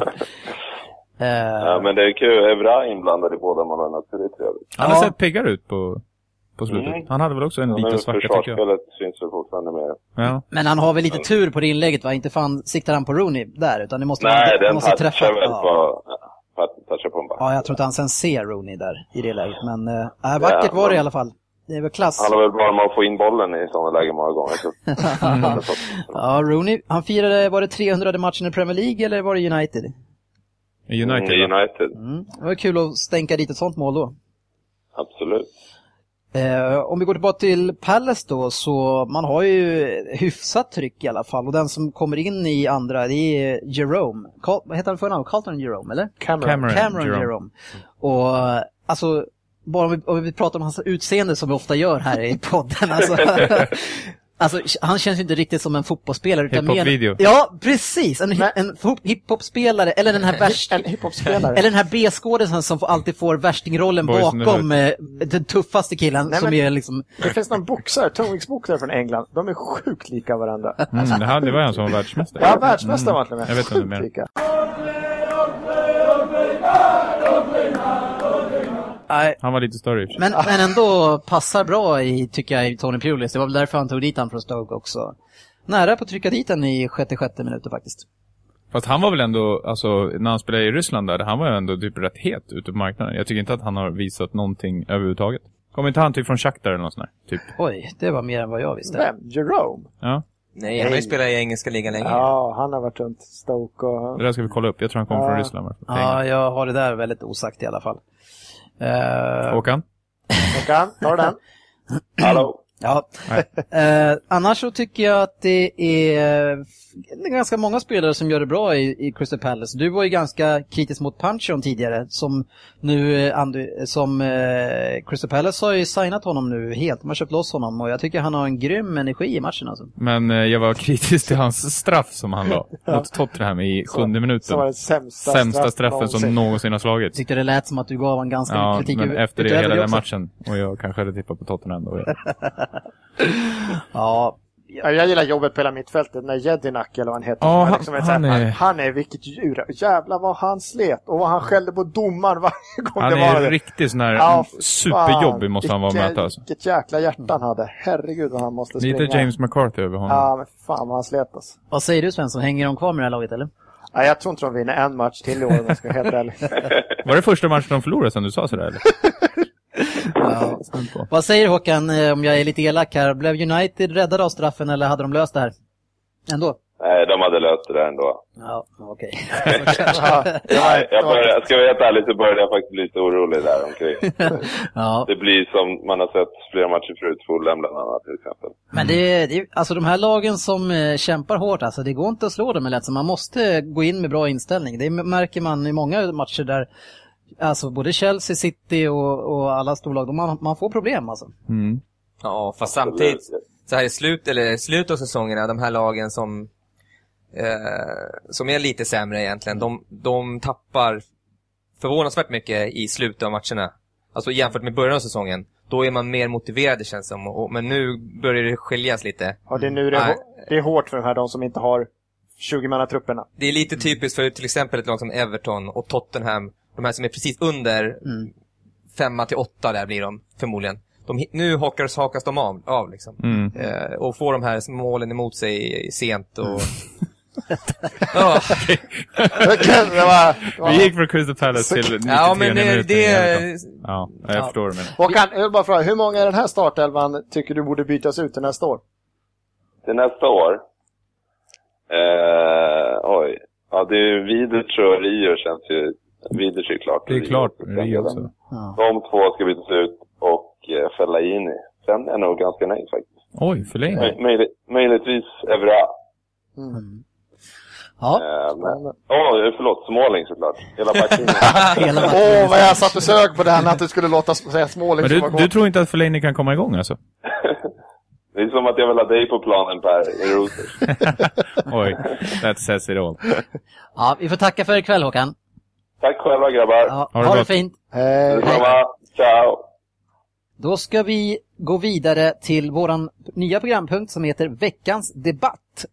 Speaker 1: Eh,
Speaker 5: ja, men det är kul. Evra är inblandad i båda målen, så det är trevligt.
Speaker 2: Han har
Speaker 1: Ja.
Speaker 2: sett piggare ut på, på slutet.
Speaker 5: Mm.
Speaker 2: Han hade väl också en
Speaker 5: Men
Speaker 2: liten svacka tycker jag.
Speaker 5: försvarsspelet syns väl fortfarande mer.
Speaker 2: Ja.
Speaker 1: Men han har väl lite tur på det inlägget, va? Inte fan siktar han på Rooney där, utan det måste
Speaker 5: Nej,
Speaker 1: han,
Speaker 5: den
Speaker 1: måste
Speaker 5: touchar väl
Speaker 1: Ja.
Speaker 5: på... Ja, touchar på en back.
Speaker 1: ja, jag tror inte han sen ser Rooney där i det läget, men eh, äh, vackert
Speaker 5: Ja,
Speaker 1: var det i
Speaker 5: men-
Speaker 1: alla fall. Det är väl klass.
Speaker 5: Han har väl bara med att få in bollen i sådana lägen många gånger. Så.
Speaker 2: Mm.
Speaker 1: Ja, Rooney, han firade, var det 300 matchen i Premier League eller var det United?
Speaker 2: I United.
Speaker 5: Mm,
Speaker 2: va?
Speaker 5: United.
Speaker 1: Mm. Det var kul att stänka dit ett sånt mål då.
Speaker 5: Absolut.
Speaker 1: Eh, om vi går tillbaka till Palace då, så man har ju hyfsat tryck i alla fall. Och den som kommer in i andra, det är Jerome. Carl, vad heter han för namn? Carlton Jerome, eller?
Speaker 4: Cameron.
Speaker 2: Cameron,
Speaker 1: Cameron Jerome.
Speaker 2: Jerome.
Speaker 1: Och alltså, bara om vi, om vi pratar om hans utseende som vi ofta gör här i podden. Alltså, Alltså, han känns ju inte riktigt som en fotbollsspelare. utan mer en-
Speaker 2: Hiphop-video.
Speaker 1: Ja, precis! En, hi-
Speaker 4: Men-
Speaker 1: en fo- hiphop-spelare, eller den här värst...
Speaker 4: En hiphop-spelare.
Speaker 1: Eller den här B-skådisen som får- alltid får värstingrollen
Speaker 2: Boys in the
Speaker 1: bakom eh, den tuffaste killen
Speaker 4: Nej,
Speaker 1: som
Speaker 4: men-
Speaker 1: är liksom...
Speaker 4: Det finns någon boxare, tungviktsboxare från England. De är sjukt lika varandra.
Speaker 2: Mm, det, här, det var han som var världsmästare.
Speaker 4: Ja, världsmästare var han till och med.
Speaker 2: Mm, Jag vet inte
Speaker 4: Sjukt
Speaker 2: mer.
Speaker 4: lika.
Speaker 1: Nej,
Speaker 2: Han var lite större i och för sig.
Speaker 1: Men, men ändå passar bra i, tycker jag, i Tony Pulis. Det var väl därför han tog dit han från Stoke också. Nära på att trycka dit den i sjätte, sjätte minuten faktiskt.
Speaker 2: Fast han var väl ändå, alltså när han spelade i Ryssland där, han var ju ändå typ rätt het ute på marknaden. Jag tycker inte att han har visat någonting överhuvudtaget. Kommer inte han typ från Shakhtar eller något sånt där? Typ.
Speaker 1: Oj, det var mer än vad jag visste.
Speaker 4: Vem? Jerome?
Speaker 2: Ja,
Speaker 3: Nej, han har ju spelat i engelska ligan länge.
Speaker 4: Ja, han har varit runt Stoke och...
Speaker 2: det där ska vi kolla upp. Jag tror han kommer från
Speaker 4: Ja.
Speaker 2: Ryssland. va?
Speaker 1: Ja, jag har det där väldigt osagt i alla fall. Eh,
Speaker 2: Håkan?
Speaker 4: Håkan, tar den.
Speaker 5: Hallå?
Speaker 1: ja.
Speaker 2: Nej.
Speaker 1: Eh, annars så tycker jag att det är f- ganska många spelare som gör det bra i, i Crystal Palace. Du var ju ganska kritisk mot Panchon tidigare, som nu, eh, Andy, som eh, Crystal Palace har ju signat honom nu helt. De har köpt loss honom och jag tycker han har en grym energi i matchen alltså.
Speaker 2: Men eh, jag var kritisk till hans straff som han la mot Tottenham i sjunde
Speaker 4: Som var
Speaker 2: minuten.
Speaker 4: den sämsta,
Speaker 2: Sämsta
Speaker 4: straff
Speaker 2: straffen som
Speaker 4: någonsin.
Speaker 2: någonsin har
Speaker 1: Jag
Speaker 2: slagits.
Speaker 1: tyckte det lät som att du gav en ganska
Speaker 2: Ja,
Speaker 1: kritik
Speaker 2: men
Speaker 1: ut-
Speaker 2: efter det,
Speaker 1: utöver
Speaker 2: hela den
Speaker 1: också.
Speaker 2: matchen. Och jag kanske hade tippat på Tottenham då.
Speaker 1: Ja,
Speaker 4: Ja, jag gillar jobbet på hela mittfältet när Jedinak eller vad han heter.
Speaker 2: Ja,
Speaker 4: som är
Speaker 2: han-
Speaker 4: ett så här-
Speaker 2: han är-
Speaker 4: han, han är vilket djur. Jävlar vad han slet och vad han skällde på domaren varje gång
Speaker 2: Han
Speaker 4: det var
Speaker 2: är
Speaker 4: det.
Speaker 2: riktigt sån här
Speaker 4: Ja,
Speaker 2: superjobbig
Speaker 4: fan,
Speaker 2: måste han vara att
Speaker 4: vilka-
Speaker 2: möta alltså.
Speaker 4: Vilket jäkla hjärta han hade. Herregud vad han måste springa.
Speaker 2: Lite James McCarthy över honom.
Speaker 4: Ja, men fan vad han slet alltså.
Speaker 1: vad säger du Svensson, hänger de kvar med det här laget eller?
Speaker 4: Ja, jag tror inte de vinner en match till i år om jag ska vara helt ärlig.
Speaker 2: Var det första matchen de förlorade sen du sa sådär eller?
Speaker 1: Ja. Vad säger Håkan, eh, om jag är lite elak här, blev United räddade av straffen eller hade de löst det här? Ändå?
Speaker 5: Nej, de hade löst det där ändå.
Speaker 1: Ja, okej.
Speaker 4: Ja, det var-
Speaker 5: Nej, jag började, ska jag vara helt ärlig så började jag faktiskt bli lite orolig där omkring.
Speaker 1: ja.
Speaker 5: Det blir som man har sett flera matcher förut, Fulham bland annat till exempel.
Speaker 1: Men det, det, alltså de här lagen som eh, kämpar hårt, alltså det går inte att slå dem med lätt, så man måste gå in med bra inställning. Det märker man i många matcher där, alltså både Chelsea, City och, och alla storlag, de, man, man får problem alltså.
Speaker 2: Mm.
Speaker 3: Ja, fast samtidigt, så här i slut, eller slut av säsongerna, de här lagen som, eh, som är lite sämre egentligen, de, de tappar förvånansvärt mycket i slutet av matcherna. Alltså jämfört med början av säsongen. Då är man mer motiverad det känns som, och, men nu börjar det skiljas lite.
Speaker 4: Ja, det är nu det är,
Speaker 3: Nej.
Speaker 4: hår- det är hårt för de här, de som inte har 20-mannatrupperna.
Speaker 3: Det är lite typiskt för till exempel ett lag som Everton och Tottenham, de här som är precis under
Speaker 1: Mm.
Speaker 3: femma till åtta där blir de förmodligen. De, hi- nu hakas, hakas de av, av liksom.
Speaker 2: Mm.
Speaker 3: Eh, och får de här målen emot sig sent och... ja,
Speaker 4: det var, det var...
Speaker 2: Vi gick från Crystal Palace till 93
Speaker 3: ja, men det...
Speaker 2: minuten.
Speaker 3: det
Speaker 2: i Everton. Ja, jag
Speaker 3: Ja.
Speaker 2: förstår vad du menar.
Speaker 4: Håkan, jag vill bara fråga, hur många i den här startelvan tycker du borde bytas ut till nästa år?
Speaker 5: Till nästa år? Eh, oj. Ja, det är Vidic och Rio känns ju... Vidic är klart.
Speaker 2: Det är
Speaker 5: Rio
Speaker 2: klart,
Speaker 5: ska
Speaker 2: Rio
Speaker 5: spela.
Speaker 2: också.
Speaker 1: Ja.
Speaker 5: De två ska bytas ut och eh, Fellaini. Sen är jag nog ganska nöjd faktiskt.
Speaker 2: Oj, förlängning.
Speaker 5: Möj- möjlig- möjligtvis Evra.
Speaker 1: Ja,
Speaker 5: Eh, men... Åh, förlåt. Småling såklart. Hela backlinjen.
Speaker 1: hela
Speaker 4: Åh,
Speaker 1: matchen.
Speaker 4: vad jag satt och sög på det här med att du skulle låta s- säga liksom. Småling
Speaker 2: Men du,
Speaker 4: som
Speaker 3: Liksom
Speaker 4: var
Speaker 2: du
Speaker 4: god.
Speaker 2: tror inte att förlängning kan komma igång alltså?
Speaker 5: det är som att jag vill ha dig på planen Per i Rosers.
Speaker 2: Oj, that says it all.
Speaker 1: ja, vi får tacka för ikväll Håkan.
Speaker 5: Tack själva grabbar.
Speaker 1: Ja,
Speaker 2: Ha det
Speaker 1: ha det
Speaker 2: gott.
Speaker 1: fint.
Speaker 4: Hej.
Speaker 5: Detsamma. Ciao.
Speaker 1: Då ska vi gå vidare till våran nya programpunkt som heter Veckans debatt.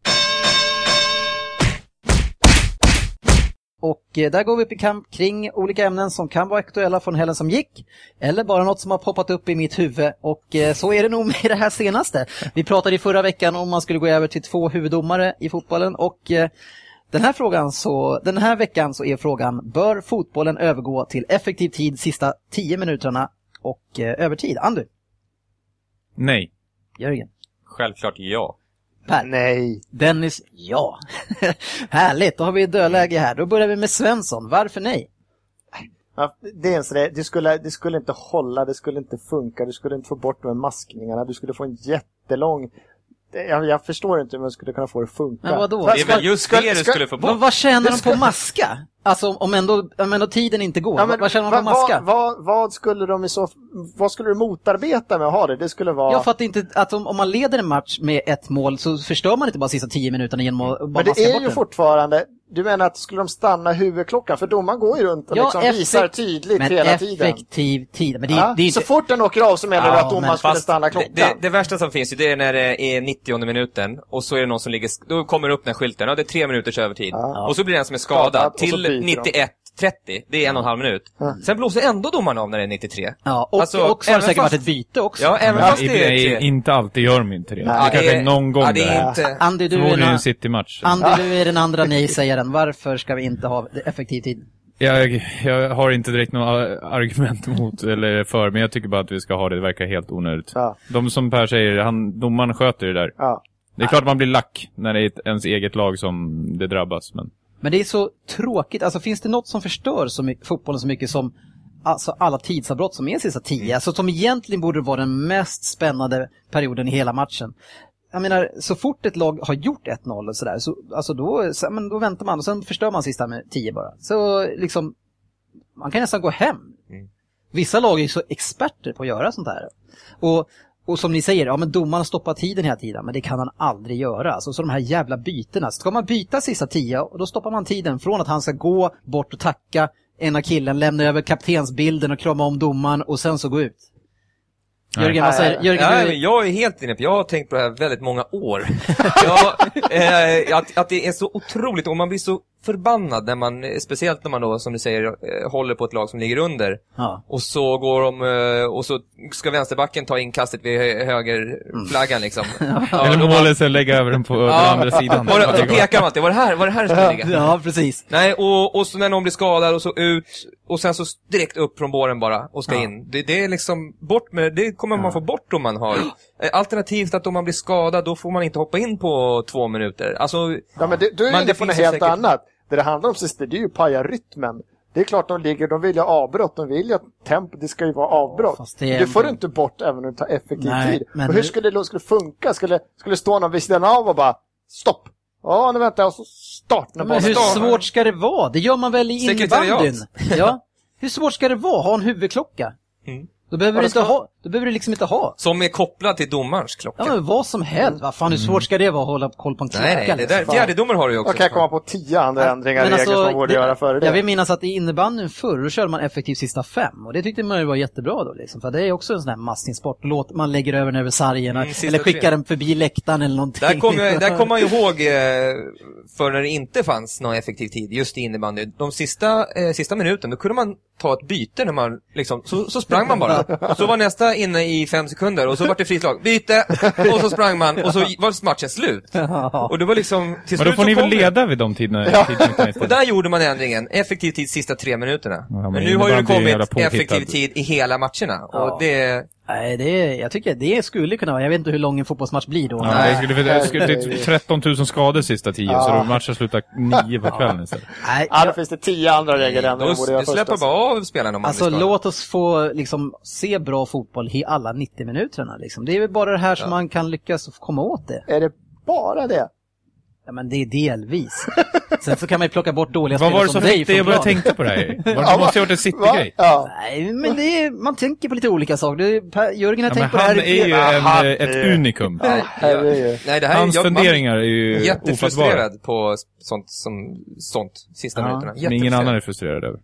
Speaker 1: Och eh, där går vi upp i kamp kring olika ämnen som kan vara aktuella från helgen som gick, eller bara något som har poppat upp i mitt huvud. Och eh, så är det nog med det här senaste. Vi pratade i förra veckan om man skulle gå över till två huvuddomare i fotbollen och eh, den här, frågan så, den här veckan så är frågan, bör fotbollen övergå till effektiv tid sista 10 minuterna och eh, övertid? Andu,
Speaker 2: Nej.
Speaker 1: Jörgen,
Speaker 3: Självklart ja.
Speaker 1: Per.
Speaker 4: Nej.
Speaker 1: Dennis, ja. Härligt, då har vi dödläge här. Då börjar vi med Svensson. Varför nej?
Speaker 4: Ja, Det är en sån där, det skulle, det skulle inte hålla, det skulle inte funka, du skulle inte få bort de här maskningarna, du skulle få en jättelång det- jag, jag förstår inte hur man skulle kunna få det att funka.
Speaker 1: Men vadå?
Speaker 4: Ska-
Speaker 3: Det är väl just
Speaker 4: ska-
Speaker 3: det du
Speaker 4: ska-
Speaker 3: skulle få
Speaker 1: Men
Speaker 3: bort.
Speaker 1: vad tjänar de på maska? Alltså om- om ändå, om ändå tiden inte går,
Speaker 4: Ja, men
Speaker 1: vad tjänar de på
Speaker 4: vad-
Speaker 1: maska?
Speaker 4: Vad, vad, vad skulle de i så Vad skulle du motarbeta med att ha det? Det skulle vara...
Speaker 1: Jag fattar inte att om, om man leder en match med ett mål så förstör man inte bara sista tio minuterna genom att bara
Speaker 4: men
Speaker 1: maska
Speaker 4: det är
Speaker 1: bort
Speaker 4: ju
Speaker 1: den.
Speaker 4: fortfarande... Du menar att skulle de stanna huvudklockan? För domaren går ju runt och liksom
Speaker 1: effek-
Speaker 4: visar tydligt
Speaker 1: men
Speaker 4: hela tiden.
Speaker 1: effektiv tid. Men det,
Speaker 4: Ja,
Speaker 1: det är inte...
Speaker 4: Så fort den åker av så menar du
Speaker 1: Ja,
Speaker 4: att domaren
Speaker 1: men
Speaker 4: skulle
Speaker 3: Fast
Speaker 4: stanna
Speaker 3: det,
Speaker 4: klockan?
Speaker 3: det, det värsta som finns ju, det är när det är 90 minuten och så är det någon som ligger, då kommer det upp den här skylten, ja det är tre minuters övertid.
Speaker 4: Ja.
Speaker 3: Och så blir den som är skadad
Speaker 4: Skadad, och så
Speaker 3: till
Speaker 4: byter de.
Speaker 3: 91.30, det är en och en halv minut. Sen blåser ändå domaren av när det är 93.
Speaker 1: Ja, och,
Speaker 3: Alltså,
Speaker 1: och så har
Speaker 3: även
Speaker 1: det säkert
Speaker 3: fast-
Speaker 1: varit ett byte också.
Speaker 3: Ja, även
Speaker 2: Men
Speaker 3: fast det är
Speaker 2: i-
Speaker 3: tre.
Speaker 2: inte alltid gör de inte det.
Speaker 4: Nej.
Speaker 2: det kanske är någon gång
Speaker 3: ja, det
Speaker 2: där.
Speaker 3: är inte...
Speaker 1: Andy, du är,
Speaker 2: Förmodligen
Speaker 1: den,
Speaker 2: en City-match.
Speaker 1: Andy, du är den andra nej-sägaren. Varför ska vi inte ha effektiv tid?
Speaker 2: Jag, jag har inte direkt några argument mot eller för, men jag tycker bara att vi ska ha det. Det verkar helt onödigt.
Speaker 4: Ja.
Speaker 2: De som Per säger, han, domaren sköter det där.
Speaker 4: Ja.
Speaker 2: Det är klart man blir lack när det är ett- ens eget lag som det drabbas, men...
Speaker 1: Men det är så tråkigt. Alltså finns det något som förstör så mycket, fotbollen så mycket som alltså, alla tidsavbrott som är sista tio? Alltså som egentligen borde vara den mest spännande perioden i hela matchen. Jag menar, så fort ett lag har gjort 1-0 och sådär, så, alltså då, så, men då väntar man och sen förstör man sista med tio bara. Så liksom, man kan nästan gå hem. Vissa lag är ju så experter på att göra sånt här. Och, och som ni säger, ja men domaren stoppar tiden hela tiden, men det kan han aldrig göra. Alltså, så de här jävla bytena. Ska man byta sista tio, och då stoppar man tiden från att han ska gå bort och tacka ena killen, lämna över kaptensbilden och krama om domaren och sen så gå ut. Jörgen, vad säger Jörgen,
Speaker 3: Ja,
Speaker 1: du-
Speaker 3: men jag är helt inne på Jag har tänkt på det här väldigt många år. jag, eh, att, att det är så otroligt, och man blir så förbannad när man, eh, speciellt när man då, som du säger, eh, håller på ett lag som ligger under.
Speaker 1: Ja.
Speaker 3: Och så går de, eh, och så ska vänsterbacken ta inkastet vid hö- högerflaggan
Speaker 1: Mm.
Speaker 3: liksom. Ja,
Speaker 2: Eller
Speaker 3: då bara-
Speaker 2: målet, sen lägga över den på den
Speaker 3: Ja.
Speaker 2: andra sidan.
Speaker 3: Var det, och då pekar man alltid, var det här, var det här det skulle ligga?
Speaker 1: ja, precis.
Speaker 3: Nej, och, och så när någon blir skadad och så ut, och sen så direkt upp från båren bara och ska
Speaker 1: Ja.
Speaker 3: in. Det, det är liksom bort med, det kommer man få bort om man har. Eh, Alternativt att om man blir skadad, då får man inte hoppa in på två minuter. Alltså,
Speaker 4: Ja, men du, du är
Speaker 3: Men
Speaker 4: ju inne
Speaker 3: det
Speaker 4: på något
Speaker 3: finns ju
Speaker 4: helt
Speaker 3: säkert-
Speaker 4: annat. Det det handlar om sist, det är ju att paja rytmen. Det är klart de ligger, de vill ju ha avbrott, de vill ju att tempo, det ska ju vara avbrott.
Speaker 1: fast det
Speaker 4: Det
Speaker 1: är-
Speaker 4: får du inte bort även om du tar effektiv
Speaker 1: Nej,
Speaker 4: tid.
Speaker 1: men
Speaker 4: och hur
Speaker 1: nu-
Speaker 4: skulle det skulle det funka? Skulle, skulle stå någon vid sidan av och bara stopp? Ja, nu väntar jag och så start. när
Speaker 1: Men
Speaker 4: bollen
Speaker 1: hur
Speaker 4: startar.
Speaker 1: svårt ska det vara? Det gör man väl i
Speaker 3: Sekretariat.
Speaker 1: innebandyn? Ja. Hur svårt ska det vara? Ha en huvudklocka?
Speaker 3: Mm.
Speaker 1: Då behöver,
Speaker 4: Ja,
Speaker 1: du inte
Speaker 4: det ska-
Speaker 1: ha, då behöver du liksom inte ha.
Speaker 3: som är kopplad till domarens klocka.
Speaker 1: Ja, men vad som helst. Vad fan, hur svårt ska det vara att hålla koll på en klocka?
Speaker 3: Mm. nej, nej, det
Speaker 1: liksom?
Speaker 3: där, fjärdedomare har du ju också.
Speaker 4: Jag kan komma på tio andra ändringar i regler som man borde
Speaker 1: alltså, det-
Speaker 4: göra före det.
Speaker 1: Jag vill minnas att i innebandyn förr, då körde man effektivt sista fem. Och det tyckte man ju var jättebra då. Liksom. För det är också en sån här massningssport. Låt man lägger över den över sargen
Speaker 3: Mm, sista
Speaker 1: eller skickar
Speaker 3: tre.
Speaker 1: den förbi läktaren eller någonting.
Speaker 3: Där kommer där kom man ju ihåg eh, för när det inte fanns någon effektiv tid just i innebandy. De sista, eh, sista minuten, då kunde man ta ett byte när man liksom, så, så sprang man bara. Så var nästa inne i fem sekunder och så var det fritt lag. Byte! Och så sprang man och så var matchen slut.
Speaker 1: Ja.
Speaker 3: Och det var liksom, till
Speaker 2: Men då
Speaker 3: slut
Speaker 2: får ni
Speaker 3: så
Speaker 2: väl
Speaker 3: kom det.
Speaker 2: leda vid de tiderna. tidpunkterna
Speaker 3: Och
Speaker 2: istället.
Speaker 3: där gjorde man ändringen, effektiv tid sista tre minuterna.
Speaker 2: Ja, men
Speaker 3: men, nu har ju
Speaker 2: innebandy är
Speaker 3: det
Speaker 2: ju
Speaker 3: kommit
Speaker 2: jävla påhittad.
Speaker 3: effektiv tid i hela matcherna.
Speaker 1: Ja.
Speaker 3: Och det,
Speaker 1: Nej, det, är- jag tycker det skulle kunna vara. Jag vet inte hur lång en fotbollsmatch blir då.
Speaker 2: Ja, det, skulle, det, skulle, det är 13 000 skador sista tio, så
Speaker 4: Ja.
Speaker 2: då matchen slutar nio på kvällen istället.
Speaker 1: Nej,
Speaker 4: Ja, då finns det tio andra regeländringar
Speaker 3: då,
Speaker 4: man borde göra
Speaker 3: det
Speaker 4: först.
Speaker 3: släpper
Speaker 4: alltså.
Speaker 3: bara av spelarna om man
Speaker 1: Alltså
Speaker 3: blir skadad.
Speaker 1: låt oss få liksom, se bra fotboll i alla 90 minuterna. Liksom. Det är väl bara det här som man kan lyckas komma åt det.
Speaker 4: Är det bara det?
Speaker 1: Ja, men det är delvis. Sen så kan man ju plocka bort dåliga
Speaker 2: Vad
Speaker 1: spelare
Speaker 2: var det
Speaker 1: som
Speaker 2: som
Speaker 1: dig
Speaker 2: fick dig
Speaker 1: från
Speaker 2: att börja
Speaker 1: planen.
Speaker 2: tänka på det här? Var-
Speaker 4: Ja,
Speaker 2: Du måste ha gjort en
Speaker 4: Va?
Speaker 2: City-grej.
Speaker 4: Ja.
Speaker 1: Nej, men det är, man tänker på lite olika saker. Det är, per, Jörgen har
Speaker 2: Ja, men
Speaker 1: tänkt på det här
Speaker 2: han
Speaker 1: i
Speaker 2: är
Speaker 1: flera...
Speaker 2: ju
Speaker 4: flera- Han
Speaker 2: en, eh,
Speaker 4: är-
Speaker 2: ett unikum.
Speaker 3: Nej,
Speaker 4: herregud.
Speaker 3: nej, det här är-
Speaker 2: Hans
Speaker 3: jag- man-
Speaker 2: funderingar är ju ofattbara.
Speaker 3: Jättefrustrerad på sånt, som, sånt sista
Speaker 1: Ja,
Speaker 3: minuterna.
Speaker 2: Men ingen
Speaker 3: Jättefrustrerad.
Speaker 2: annan är frustrerad över.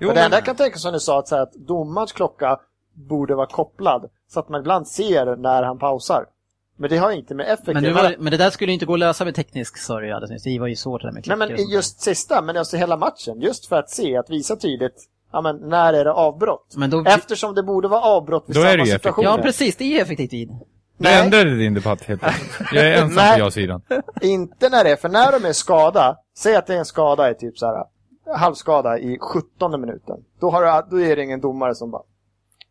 Speaker 3: Jo,
Speaker 4: Men det
Speaker 3: men,
Speaker 4: enda jag kan tänka som du sa, att, så här, att domarens klocka borde vara kopplad. Så att man ibland ser när han pausar. Men det har inte med effektiv...
Speaker 1: men, nu
Speaker 4: men,
Speaker 1: var, men det där skulle ju inte gå att lösa med teknisk sorg alldeles nyss. Det var ju svårt det där med klickar
Speaker 4: nej, men
Speaker 1: och sånt där.
Speaker 4: just sista, men alltså hela matchen. Just för att se, att visa tydligt, ja men när är det avbrott?
Speaker 1: Men då...
Speaker 4: Eftersom det borde vara avbrott vid
Speaker 2: Då är det
Speaker 4: samma
Speaker 2: ju effektivt.
Speaker 4: situation.
Speaker 1: Ja, precis. Det är effektiv tid.
Speaker 2: Du
Speaker 4: Nej.
Speaker 2: ändrade din debatt helt enkelt. Jag är ensam
Speaker 4: Nej.
Speaker 2: på ja-sidan.
Speaker 4: Inte när det är, för när de är skada, säg att det är en skada i typ så här halvskada i 17 minuten. Då, har du, då är det ingen domare som bara,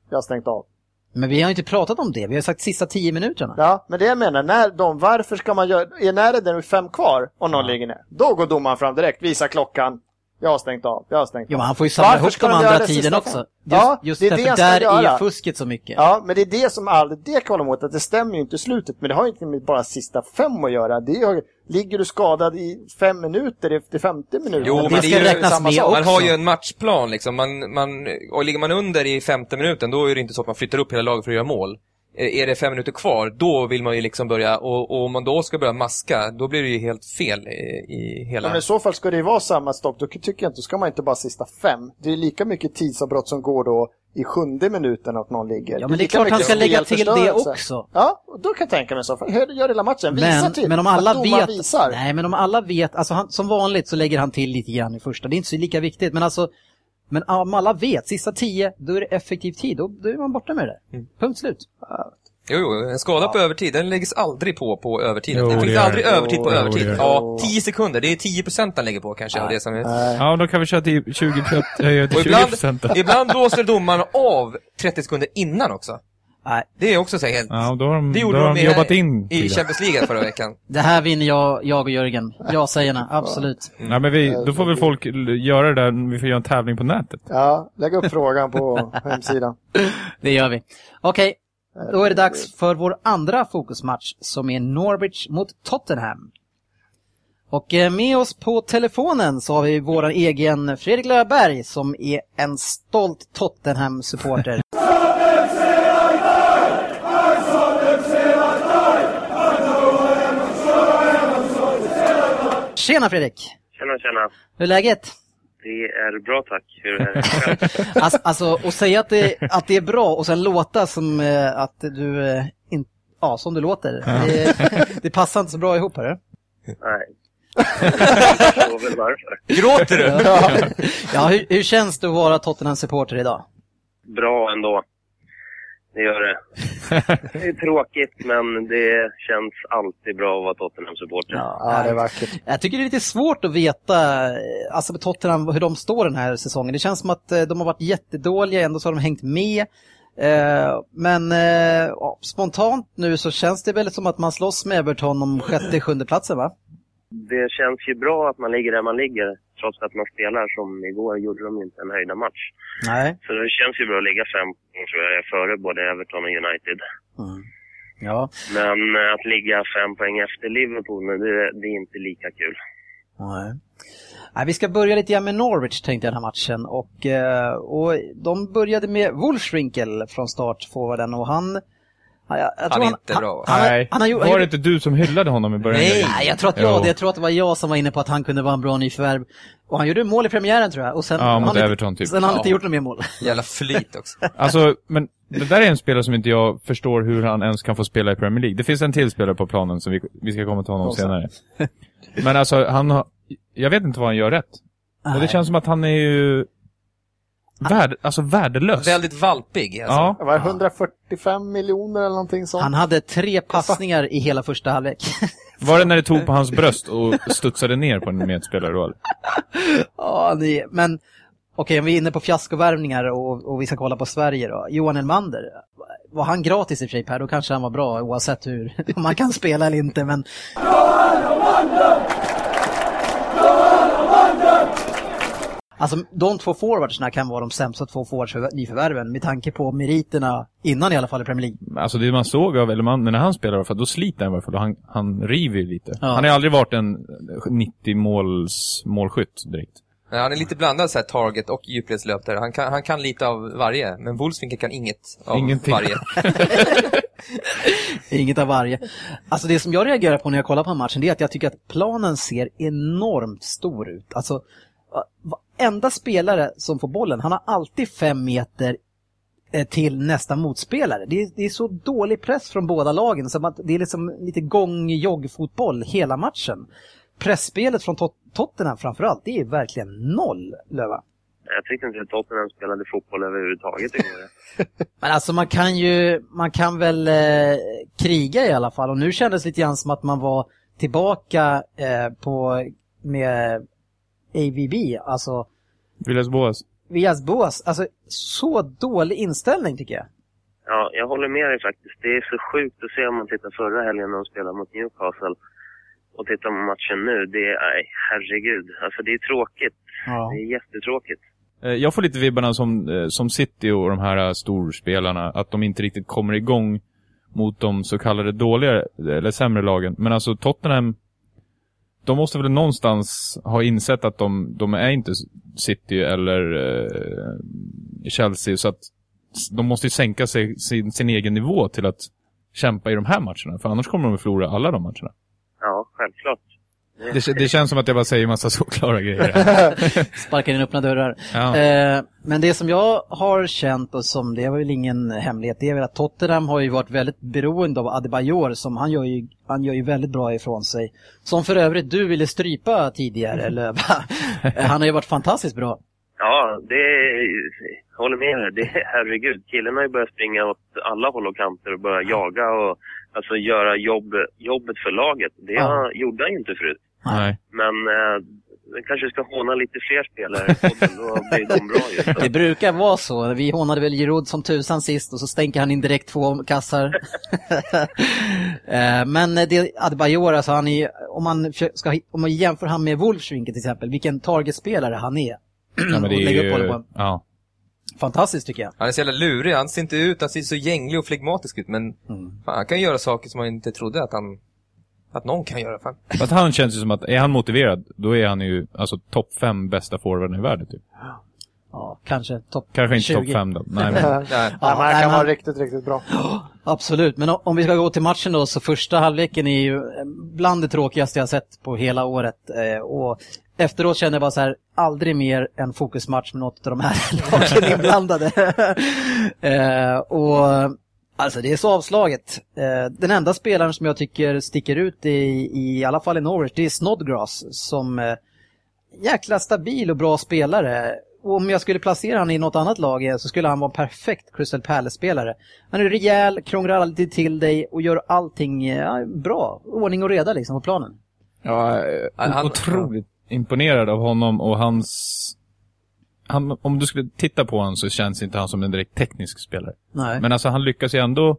Speaker 4: jag har stängt av.
Speaker 1: Men vi har ju inte pratat om det. Vi har sagt sista 10 minuterna.
Speaker 4: Ja, men det jag menar, när de, varför ska man göra, är när det är fem kvar och någon ligger ner, då går domaren fram direkt, visar klockan. Jag har stängt av, jag har stängt
Speaker 1: Jo,
Speaker 4: av.
Speaker 1: men han får ju samla
Speaker 4: Varför
Speaker 1: ihop
Speaker 4: ska
Speaker 1: de
Speaker 4: de göra
Speaker 1: andra
Speaker 4: det
Speaker 1: tiden
Speaker 4: sista
Speaker 1: också.
Speaker 4: fem?
Speaker 1: Just,
Speaker 4: Ja,
Speaker 1: just
Speaker 4: det är det
Speaker 1: därför
Speaker 4: jag ska
Speaker 1: där är ju
Speaker 4: göra.
Speaker 1: fusket så mycket.
Speaker 4: Ja, men det är det som aldrig, det kollar mot att det stämmer ju inte i slutet, men det har ju inte med bara sista fem att göra. Det är, ju- ligger du skadad i fem minuter efter 50 minuter?
Speaker 3: Jo,
Speaker 4: Det
Speaker 3: men
Speaker 4: är
Speaker 3: det
Speaker 4: ju
Speaker 1: räknas
Speaker 4: samma
Speaker 1: med
Speaker 4: sak.
Speaker 1: också.
Speaker 3: Man har ju en matchplan liksom. Man, man, och ligger man under i femte minuten, då är det inte så att man flyttar upp hela laget för att göra mål. Eh, Är det fem minuter kvar, då vill man ju liksom börja, och, och om man då ska börja maska, då blir det ju helt fel i, i
Speaker 4: Ja,
Speaker 3: hela...
Speaker 4: men i så fall ska det ju vara samma stopp. Då tycker jag inte, då ska man inte bara sista fem. Det är lika mycket tidsavbrott som går då i sjunde minuten att någon ligger.
Speaker 1: Ja, men det är
Speaker 4: lika
Speaker 1: klart han
Speaker 4: mycket
Speaker 1: ska lägga till det
Speaker 4: spelförstörelse.
Speaker 1: också.
Speaker 4: Ja, och då kan jag tänka mig i så fall. Hör- Gör hela matchen, visa
Speaker 1: Men,
Speaker 4: till.
Speaker 1: men om
Speaker 4: typ att
Speaker 1: alla
Speaker 4: domaren
Speaker 1: vet,
Speaker 4: Visar.
Speaker 1: nej men om alla vet, alltså han, som vanligt så lägger han till lite grann i första, det är inte så lika viktigt, men alltså, men om alla vet, sista tio, då är det effektiv tid, då, då är man borta med det där. Punkt slut.
Speaker 3: Jo, jo, en skada på övertid, den läggs aldrig på på övertid.
Speaker 2: Jo,
Speaker 3: den
Speaker 2: det
Speaker 3: finns
Speaker 2: gör
Speaker 3: aldrig
Speaker 2: det.
Speaker 3: övertid på
Speaker 2: Jo,
Speaker 3: övertid.
Speaker 2: det gör det.
Speaker 3: Ja, 10 sekunder, det är 10 procent den lägger på kanske av det som är...
Speaker 4: Nej.
Speaker 2: Ja, då kan vi köra till 20 höja till
Speaker 3: Och
Speaker 2: 20
Speaker 3: ibland, ibland blåser domaren av 30 sekunder innan också.
Speaker 1: Nej,
Speaker 3: Det är också så här helt...
Speaker 2: Ja, då har de,
Speaker 3: Det
Speaker 2: då
Speaker 3: gjorde
Speaker 2: har
Speaker 3: de,
Speaker 2: de
Speaker 3: i-
Speaker 2: jobbat in
Speaker 3: i
Speaker 2: tiden.
Speaker 3: Champions League förra veckan.
Speaker 1: det här vinner jag, jag och Jörgen. Jag säger absolut.
Speaker 2: Nej, men vi, då får väl folk l- göra det där, vi får göra en tävling på nätet.
Speaker 4: Ja, lägg upp frågan på hemsidan.
Speaker 1: Det gör vi. Okej, då är det dags för vår andra fokusmatch som är Norwich mot Tottenham. Och eh, med oss på telefonen så har vi vår egen Fredrik Löfberg som är en stolt Tottenham-supporter. Tjena Fredrik!
Speaker 6: Tjena, tjena.
Speaker 1: Hur är läget?
Speaker 6: Det är bra tack. Hur är det?
Speaker 1: Alltså, alltså och säga att det, att det är bra och sen låta som eh, att du eh, in, ja, som du låter. Det, det passar inte så bra ihop hörru.
Speaker 6: Nej. Jag förstår väl varför.
Speaker 3: Gråter du?
Speaker 1: Ja, ja hur, hur känns det att vara Tottenham-supporter idag?
Speaker 6: Bra ändå. Det gör det. Det är tråkigt, men det känns alltid bra att vara Tottenham-supporter.
Speaker 4: Ja, det är vackert.
Speaker 1: Jag tycker det är lite svårt att veta eh, alltså med Tottenham hur de står den här säsongen. Det känns som att eh, de har varit jättedåliga, ändå så har de hängt med. Eh, Men eh, ja, spontant nu så känns det väl som att man slåss med Everton om sjätte, sjunde platsen va?
Speaker 6: Det känns ju bra att man ligger där man ligger, trots att man spelar som igår gjorde de inte en höjda match.
Speaker 1: Nej.
Speaker 6: Så det känns ju bra att ligga fem poäng, tror jag, före både Everton och United.
Speaker 1: Mm. Ja.
Speaker 6: Men eh, att ligga fem poäng efter Liverpool, nu, det, det är inte lika kul.
Speaker 1: Nej. Nej, vi ska börja lite grann med Norwich tänkte jag den här matchen. Och, eh, och de började med Wolfswinkel från start, forwarden, och han... ja, Jag, jag
Speaker 3: Han är
Speaker 1: tror
Speaker 3: inte bra.
Speaker 1: Han, han,
Speaker 2: Nej,
Speaker 1: han, har gjort- han,
Speaker 2: var det
Speaker 1: gjorde-
Speaker 2: inte du som hyllade honom i början?
Speaker 3: Nej.
Speaker 1: Nej, jag tror att jag,
Speaker 2: Jo.
Speaker 1: det, jag tror att det var jag som var inne på att han kunde vara en bra nyförvärv. Och han gjorde mål i premiären tror jag. Och sen
Speaker 2: Ja,
Speaker 1: har
Speaker 2: mot
Speaker 1: han inte-
Speaker 2: Everton, typ.
Speaker 1: Sen har han
Speaker 2: Ja.
Speaker 1: inte gjort något mer mål.
Speaker 3: Jävla flyt också.
Speaker 2: Alltså, men det där är en spelare som inte jag förstår hur han ens kan få spela i Premier League. Det finns en till spelare på planen som vi, vi ska komma till honom senare. Men alltså, han har, jag vet inte vad han gör rätt. Och det känns som att han är ju värd, alltså värdelös.
Speaker 3: Väldigt valpig. Alltså.
Speaker 2: Ja,
Speaker 4: Det var 145 miljoner eller någonting sånt.
Speaker 1: Han hade tre passningar i hela första halvlek.
Speaker 2: var det när det tog på hans bröst och studsade ner på en medspelare då? eller?
Speaker 1: Ja, ni, men okej, om vi är inne på fiaskovärvningar och, och vi ska kolla på Sverige då. Johan Elmander, var han gratis i och för sig Per, då kanske han var bra oavsett hur, om han kan spela eller inte. Men Alltså de två forwardsna kan vara de sämsta två forwards nyförvärven med tanke på meriterna innan i alla fall i Premier League.
Speaker 2: Alltså det man såg av Elman, när han spelar i alla fall, då sliter han i alla fall. och Han, han river ju lite.
Speaker 1: Ja.
Speaker 2: Han har ju aldrig varit en 90-måls målskytt direkt.
Speaker 3: Nej, Han är lite blandad så här, target och djupledslöpare. Han kan, han kan lite av varje, men Wolfswinkel kan inget av
Speaker 2: Ingenting.
Speaker 3: varje.
Speaker 1: Inget av varje. Alltså det som jag reagerar på när jag kollar på matchen det är att jag tycker att planen ser enormt stor ut. Alltså varenda spelare som får bollen, han har alltid fem meter eh, till nästa motspelare. Det är, det är så dålig press från båda lagen så att det är liksom lite gång-jogg-fotboll hela matchen. Pressspelet från Tot- Tottenham framförallt, det är verkligen noll, Löva.
Speaker 6: Jag tyckte inte att Tottenham spelade fotboll överhuvudtaget igår.
Speaker 1: Men alltså man kan ju, man kan väl eh, kriga i alla fall och nu kändes det lite grann som att man var tillbaka eh, på, med AVB, alltså
Speaker 2: Villas Boas.
Speaker 1: Villas Boas, alltså så dålig inställning tycker jag.
Speaker 6: Ja, jag håller med dig faktiskt. Det är så sjukt att se om man tittar förra helgen när de spelade mot Newcastle. och titta på matchen nu, det är, nej, herregud. Alltså det är tråkigt.
Speaker 1: Ja.
Speaker 6: Det är jättetråkigt.
Speaker 2: Eh, Jag får lite vibbarna som, eh, som City och de här eh, storspelarna, att de inte riktigt kommer igång mot de så kallade dåliga eller sämre lagen. Men alltså Tottenham, de måste väl någonstans ha insett att de, de är inte City eller eh, Chelsea, så att s- de måste ju sänka sig, sin, sin egen nivå till att kämpa i de här matcherna, för annars kommer de att förlora alla de matcherna.
Speaker 6: Ja, självklart.
Speaker 2: Det, det känns som att jag bara säger massa såklara grejer. här.
Speaker 1: Sparkar in öppna dörrar.
Speaker 2: Ja.
Speaker 1: Eh, Men det som jag har känt och som, det var väl ingen hemlighet, det är väl att Tottenham har ju varit väldigt beroende av Adebayor som han gör ju, han gör ju väldigt bra ifrån sig. Som för övrigt du ville strypa tidigare, eller va? Han har ju varit fantastiskt bra.
Speaker 6: Ja, det jag håller med dig. Det är- Herregud, killen har ju börjat springa åt alla håll och kanter och börja jaga och alltså göra jobb, jobbet för laget. Det
Speaker 1: Ja.
Speaker 6: gjorde han ju inte förut.
Speaker 2: Nej.
Speaker 6: Men eh, vi kanske ska håna lite fler spelare i podden, då blir de bra ju.
Speaker 1: Det brukar vara så. Vi hånade väl Giroud som tusan sist och så stänker han in direkt två kassar. Eh, Men det Adebayor, alltså han är, om, man försöker- ska, om man jämför han med Wolfswinkel till exempel, vilken targetspelare han är.
Speaker 2: Ja, men det
Speaker 1: Och
Speaker 2: är
Speaker 1: lägga upp
Speaker 2: ju,
Speaker 1: bollen på.
Speaker 2: ja.
Speaker 1: Fantastiskt tycker jag.
Speaker 3: Han är så jävla lurig. Han ser inte ut, han ser så gänglig och flegmatisk ut. Men
Speaker 1: Mm.
Speaker 3: fan, han kan göra saker som man inte trodde att han... Att någon kan göra. Fan.
Speaker 2: För att han känns ju som att, är han motiverad, då är han ju alltså topp fem bästa forwarden i världen typ.
Speaker 1: Ja, kanske topp
Speaker 2: Kanske inte
Speaker 1: 20.
Speaker 2: topp fem då. Nej, men,
Speaker 3: Nej.
Speaker 4: Ja, men
Speaker 1: nej,
Speaker 4: han kan
Speaker 1: men-
Speaker 4: vara riktigt, riktigt bra.
Speaker 1: Absolut, men o- om vi ska gå till matchen då så första halvleken är ju eh, bland det tråkigaste jag sett på hela året. Eh, Och efteråt känner jag bara så här, aldrig mer en fokusmatch med något av de här lagen inblandade. Eh, och alltså det är så avslaget. Eh, Den enda spelaren som jag tycker sticker ut i, i alla fall i Norwich, det är Snodgrass som eh, jäkla stabil och bra spelare. Och om jag skulle placera han i något annat lag eh, så skulle han vara en perfekt Crystal Palace-spelare. Han är rejäl, krånglar alltid till dig och gör allting eh, bra. Ordning och reda liksom på planen.
Speaker 2: ja,
Speaker 3: han-
Speaker 2: otroligt imponerad av honom och hans... Han, om du skulle titta på honom så känns inte han som en direkt teknisk spelare.
Speaker 1: Nej.
Speaker 2: Men alltså han lyckas ju ändå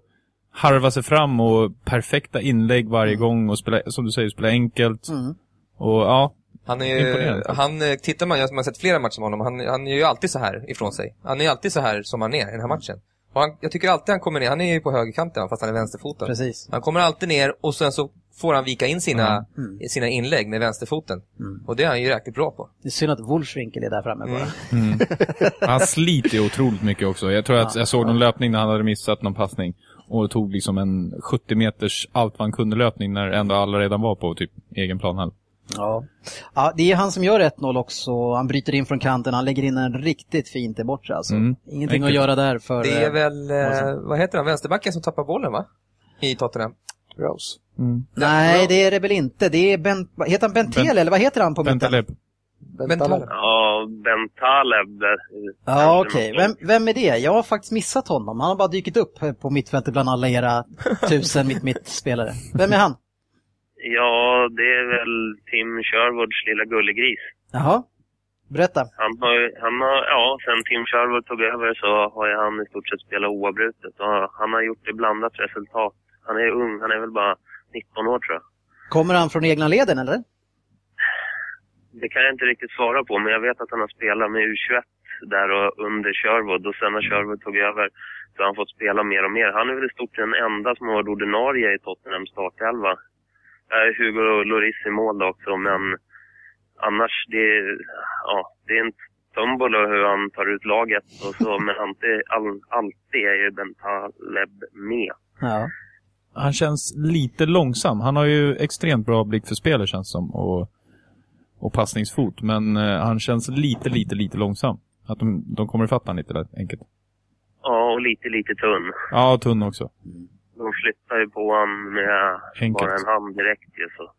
Speaker 2: harva sig fram och perfekta inlägg varje gång och spela, som du säger, spela enkelt.
Speaker 1: Mm.
Speaker 2: Och ja,
Speaker 3: Han är ju,
Speaker 2: Imponerande.
Speaker 3: han, eh, tittar man, jag har sett flera matcher med honom, han, han är ju alltid så här ifrån sig. Han är ju alltid så här som han är i den här matchen. Och han, jag tycker alltid han kommer ner, han är ju på högerkanten fast han är vänsterfoten.
Speaker 1: Precis.
Speaker 3: Han kommer alltid ner och sen så får han vika in sina,
Speaker 1: Mm.
Speaker 3: sina inlägg med vänsterfoten.
Speaker 1: Mm.
Speaker 3: Och det är han ju jäkligt bra på.
Speaker 1: Det är synd att Wolfswinkel är där framme bara.
Speaker 3: Mm.
Speaker 2: Mm. Han sliter ju otroligt mycket också. Jag tror att jag såg någon löpning när han hade missat någon passning och tog liksom en 70 meters allt vad han kunde löpning när ändå alla redan var på typ egen planhalv.
Speaker 1: Ja. ja, det är han som gör 1-0 också. Han bryter in från kanten, han lägger in en riktigt fin till bortre alltså.
Speaker 2: Mm.
Speaker 1: Ingenting att
Speaker 2: Enkelt.
Speaker 1: göra där för...
Speaker 3: Det är
Speaker 1: eh,
Speaker 3: väl, eh,
Speaker 1: Målsen.
Speaker 3: vad heter han, vänsterbacken som tappar bollen va? I Tottenham.
Speaker 4: Rose.
Speaker 1: Mm. Nej, det är det väl inte. Det är ben... vad- Heter han Bentel
Speaker 2: Ben-
Speaker 1: eller vad heter han på mitten?
Speaker 2: Bentaleb.
Speaker 4: Bentaleb.
Speaker 6: Ja, Bentaleb. eh,
Speaker 1: Ja, okej. Vem, vem är det? Jag har faktiskt missat honom. Han har bara dykt upp på mittfältet bland alla era tusen mitt-mitt-spelare. Vem är han?
Speaker 6: Ja, det är väl Tim Sherwoods lilla gullegris.
Speaker 1: Jaha, berätta.
Speaker 6: Han har, ju- han har, ja, sen Tim Sherwood tog över så har ju han i stort sett spelat oavbrutet. Och han har gjort ett blandat resultat. Han är ung, han är väl bara 19 år tror jag.
Speaker 1: Kommer han från egna leden eller?
Speaker 6: Det kan jag inte riktigt svara på, men jag vet att han har spelat med U21 där och under Sherwood. Och sen när Sherwood tog över så har han fått spela mer och mer. Han är väl i stort sett den enda som har varit ordinarie i Tottenhams startelva. Eh, Hugo Lloris i mål då också, men annars det, är- ja, det är en tumble hur han tar ut laget. Och så, men alltid, all, alltid är ju Bentaleb med.
Speaker 1: Ja.
Speaker 2: Han känns lite långsam. Han har ju extremt bra blick för spelet känns som och, och passningsfot. Men eh, han känns lite, lite, lite långsam. Att de, de kommer ifatt han lite där, enkelt.
Speaker 6: Ja, och lite, lite tunn.
Speaker 2: Ja, och tunn också.
Speaker 6: De flyttar ju på honom med bara
Speaker 2: Enkelt.
Speaker 6: en hand direkt ju. Så.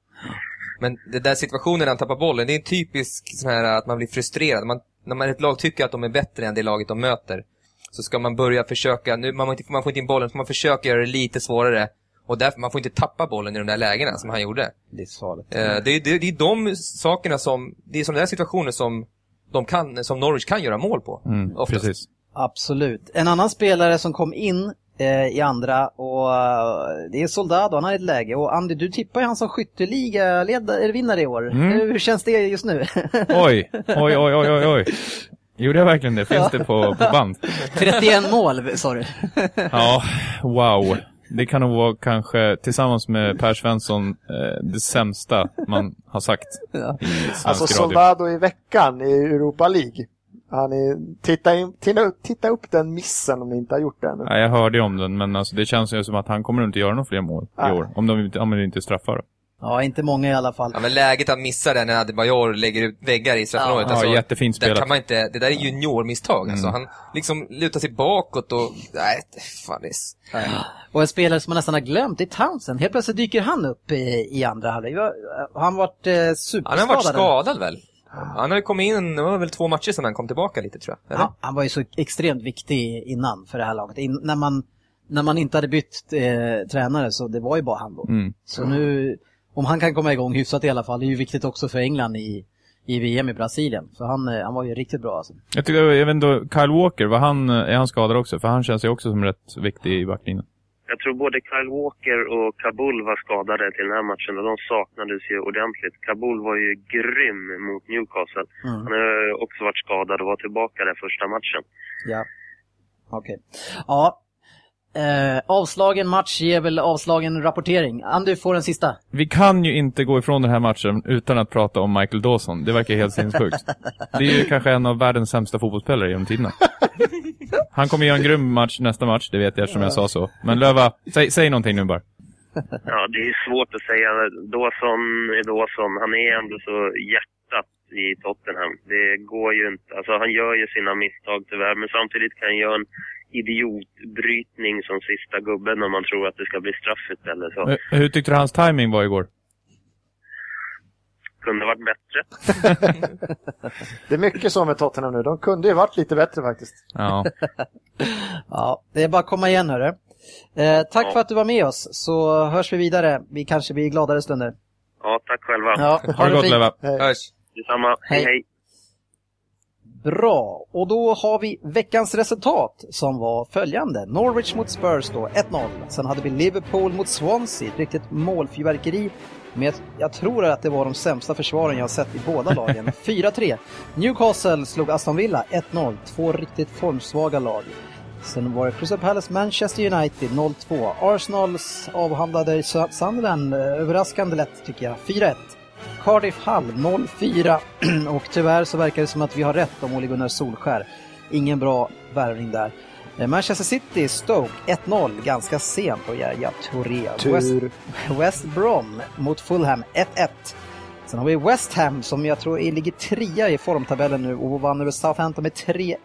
Speaker 3: Men den där situationen när han tappar bollen, det är en typisk sån här att man blir frustrerad. Man, när man ett lag tycker att de är bättre än det laget de möter, så ska man börja försöka, nu, man, får inte, man får inte in bollen, så man försöker göra det lite svårare. Och därför, man får inte tappa bollen i de där lägena som han gjorde.
Speaker 1: Livsfarligt.
Speaker 2: Mm.
Speaker 3: Eh, det, är- det, är- det är de sakerna som, det är som den här situationen som, de kan, som Norwich kan göra mål på.
Speaker 2: Mm,
Speaker 3: Oftast.
Speaker 2: precis.
Speaker 1: Absolut. En annan spelare som kom in eh, i andra och eh, det är Soldado, han har ett läge. Och Andy, du tippar ju han som skytteligavinnare i år.
Speaker 2: Mm.
Speaker 1: Hur känns det just nu?
Speaker 2: Oj, oj, oj, oj, oj, oj. Gjorde jag verkligen det? Finns det på, på band?
Speaker 1: 31 mål sa du.
Speaker 2: Ja, wow. Det kan nog vara kanske, tillsammans med Per Svensson, eh, det sämsta man har sagt
Speaker 1: Ja.
Speaker 2: i svensk
Speaker 4: Alltså
Speaker 2: radio.
Speaker 4: Soldado i veckan i Europa League. Han är, titta, in, titta, titta upp den missen om ni inte har gjort det ännu.
Speaker 2: Nej, jag hörde ju om den, men alltså, det känns ju som att han kommer nog inte göra några fler mål i
Speaker 4: Nej.
Speaker 2: år. Om de inte, om de inte straffar.
Speaker 1: Ja, inte många i alla fall.
Speaker 3: Ja, men läget att missa den när Adebayor lägger ut väggar i straffområdet.
Speaker 2: Ja, Mm.
Speaker 3: alltså,
Speaker 2: jättefint
Speaker 3: där
Speaker 2: spelat.
Speaker 3: kan man inte, det där är juniormisstag. Alltså. Han liksom lutar sig bakåt och... Nej, fan det är... s-
Speaker 1: Och en spelare som man nästan har glömt, det är Townsend. Helt plötsligt dyker han upp i, i andra halvlek. Har har han varit eh,
Speaker 3: Han
Speaker 1: superskadad?
Speaker 3: har varit skadad väl? Han har ju kommit in, det var väl två matcher sedan han kom tillbaka lite tror jag. Eller?
Speaker 1: Han, han var ju så extremt viktig innan för det här laget. In, när, man, när man inte hade bytt eh, tränare så det var ju bara han då.
Speaker 2: Mm.
Speaker 1: Så nu, om han kan komma igång hyfsat i alla fall, det är ju viktigt också för England i, i VM i Brasilien. För han, eh, han var ju riktigt bra alltså.
Speaker 2: Jag tycker, jag vet inte, Kyle Walker, var han, eh, är han skadad också? För han känns ju också som rätt viktig i backlinjen.
Speaker 6: Jag tror både Kyle Walker och Kabul var skadade till den här matchen och de saknades ju ordentligt. Kabul var ju grym mot Newcastle.
Speaker 1: Mm.
Speaker 6: Han har ju också varit skadad och var tillbaka där första matchen.
Speaker 1: Ja. Okej. Ja. Eh, avslagen match ger väl avslagen rapportering. Andu får den sista.
Speaker 2: Vi kan ju inte gå ifrån den här matchen utan att prata om Michael Dawson. Det verkar helt sinnessjukt. Det är ju kanske en av världens sämsta fotbollsspelare genom tiderna. Han kommer göra en grym match nästa match, det vet jag eftersom jag sa så. Men Löva, säg, säg någonting nu bara.
Speaker 6: Ja, det är svårt att säga. Dawson är Dawson. Han är ändå så hjärtat i Tottenham. Det går ju inte. Alltså, han gör ju sina misstag tyvärr, men samtidigt kan han göra en idiotbrytning som sista gubben om man tror att det ska bli straff istället. Så
Speaker 2: Hur- Eh, Hur tyckte du hans timing var igår?
Speaker 6: kunde varit bättre.
Speaker 4: Det är mycket så med Tottenham nu. De kunde ju varit lite bättre faktiskt.
Speaker 2: Ja.
Speaker 1: Ja, det är bara att komma igen hörru. Eh, tack för att du var med oss, så hörs vi vidare. Vi kanske blir gladare stunder.
Speaker 6: Ja, tack själva.
Speaker 1: Ja,
Speaker 2: Ha det gott
Speaker 1: fint.
Speaker 2: Löva.
Speaker 3: Hörs.
Speaker 6: Detsamma.
Speaker 1: Hej.
Speaker 6: Hej, hej.
Speaker 1: Bra, och då har vi veckans resultat som var följande. Norwich mot Spurs då, 1-0. Sen hade vi Liverpool mot Swansea, ett riktigt målfyrverkeri. Men jag- jag tror att det var de sämsta försvaren jag har sett i båda lagen. 4-3. Newcastle slog Aston Villa 1-0. Två riktigt formsvaga lag. Sen var det Crystal Palace Manchester United 0-2. Arsenals avhandlade Su- Sunderland eh, överraskande lätt tycker jag. 4-1. Cardiff Hall 0-4 och tyvärr så verkar det som att vi har rätt om Ole Gunnar Solskär. Ingen bra värvning där. Eh, Manchester City, Stoke 1-0 ganska sent och Yahya Touré. West,
Speaker 4: Tur.
Speaker 1: West Brom mot Fulham 1-1. Sen har vi West Ham som jag tror är- ligger trea i formtabellen nu och vann över Southampton med 3-1.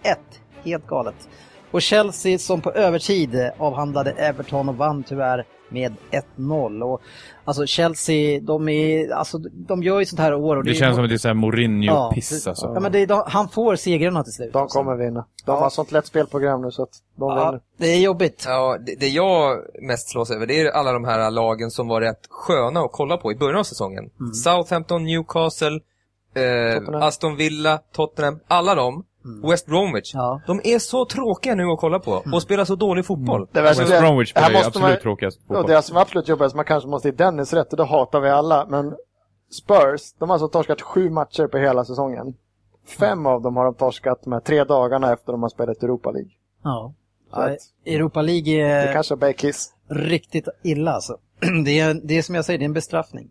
Speaker 1: Helt galet. Och Chelsea som på övertid eh, avhandlade Everton och vann tyvärr med 1-0. Och, alltså Chelsea, de, är, alltså, de gör ju sånt här år. Och
Speaker 2: Det
Speaker 1: är-
Speaker 2: känns som att det är så här Mourinho-piss
Speaker 1: Ja.
Speaker 2: alltså.
Speaker 1: Ja, men det är, de, han får segrarna till slut.
Speaker 4: De kommer vinna. De
Speaker 1: Alltså. Ja.
Speaker 4: har sånt lätt spelprogram nu så att de
Speaker 1: Ja,
Speaker 4: vinner.
Speaker 1: det är jobbigt.
Speaker 3: Ja, det, det jag mest slås över det är alla de här lagen som var rätt sköna att kolla på i början av säsongen. Southampton, Newcastle, eh,
Speaker 4: Tottenham.
Speaker 3: Aston Villa, Tottenham. Alla de. West Bromwich.
Speaker 1: Ja.
Speaker 3: De är så tråkiga nu att kolla på och spelar så dålig fotboll.
Speaker 4: Alltså, Det värsta
Speaker 2: West
Speaker 4: är-
Speaker 2: Bromwich
Speaker 4: här
Speaker 2: spelar ju
Speaker 4: måste
Speaker 2: absolut
Speaker 4: man-
Speaker 2: tråkigast
Speaker 4: Och
Speaker 2: fotboll.
Speaker 4: det som är alltså absolut jobbigast, man kanske måste ge Dennis rätt och det hatar vi alla, men Spurs, de har alltså torskat sju matcher på hela säsongen. Fem av dem har de torskat de här tre dagarna efter de har spelat Europa League.
Speaker 1: Ja.
Speaker 4: Så att-
Speaker 1: Europa League är
Speaker 4: Det kanske är bara kiss.
Speaker 1: riktigt illa alltså. Det är, det är som jag säger, det är en bestraffning.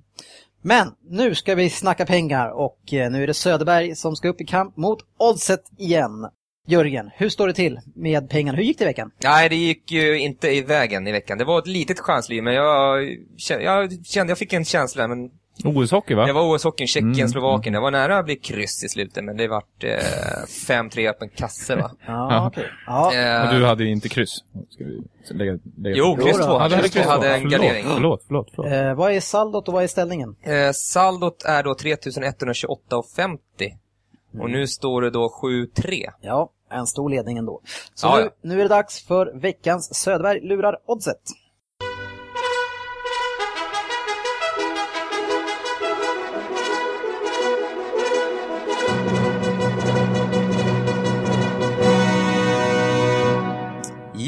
Speaker 1: Men nu ska vi snacka pengar och eh, nu är det Söderberg som ska upp i kamp mot Oddset igen. Jörgen, hur står det till med pengarna? Hur gick det i veckan?
Speaker 3: Nej, det gick ju inte i vägen i veckan. Det var ett litet chansliv, men jag, kä- jag kände, jag fick en känsla, men
Speaker 2: OS-hockey va?
Speaker 3: det var OS-hockeyn, Tjeckien,
Speaker 2: Mm.
Speaker 3: Slovakien. Det var nära att bli kryss i slutet, men det vart eh, 5-3 öppen kasse va.
Speaker 1: Ja, okej. Ja,
Speaker 3: Eh,
Speaker 2: Och du hade ju inte kryss. Ska vi lägga, lägga
Speaker 3: Jo,
Speaker 1: Jo
Speaker 3: kryss
Speaker 1: då.
Speaker 3: 2.
Speaker 1: Ja,
Speaker 2: Ja, du hade
Speaker 3: Kryss 2
Speaker 2: kryss
Speaker 3: hade
Speaker 2: två.
Speaker 3: en gardering.
Speaker 2: Förlåt, förlåt, förlåt. förlåt.
Speaker 1: eh, vad är saldot och vad är ställningen?
Speaker 3: Eh, saldot är då 3128,50. Och nu står det då 7-3.
Speaker 1: Ja, en stor ledning ändå. Så
Speaker 3: Ja,
Speaker 1: nu,
Speaker 3: ja.
Speaker 1: nu är det dags för veckans Söderberg lurar Oddset.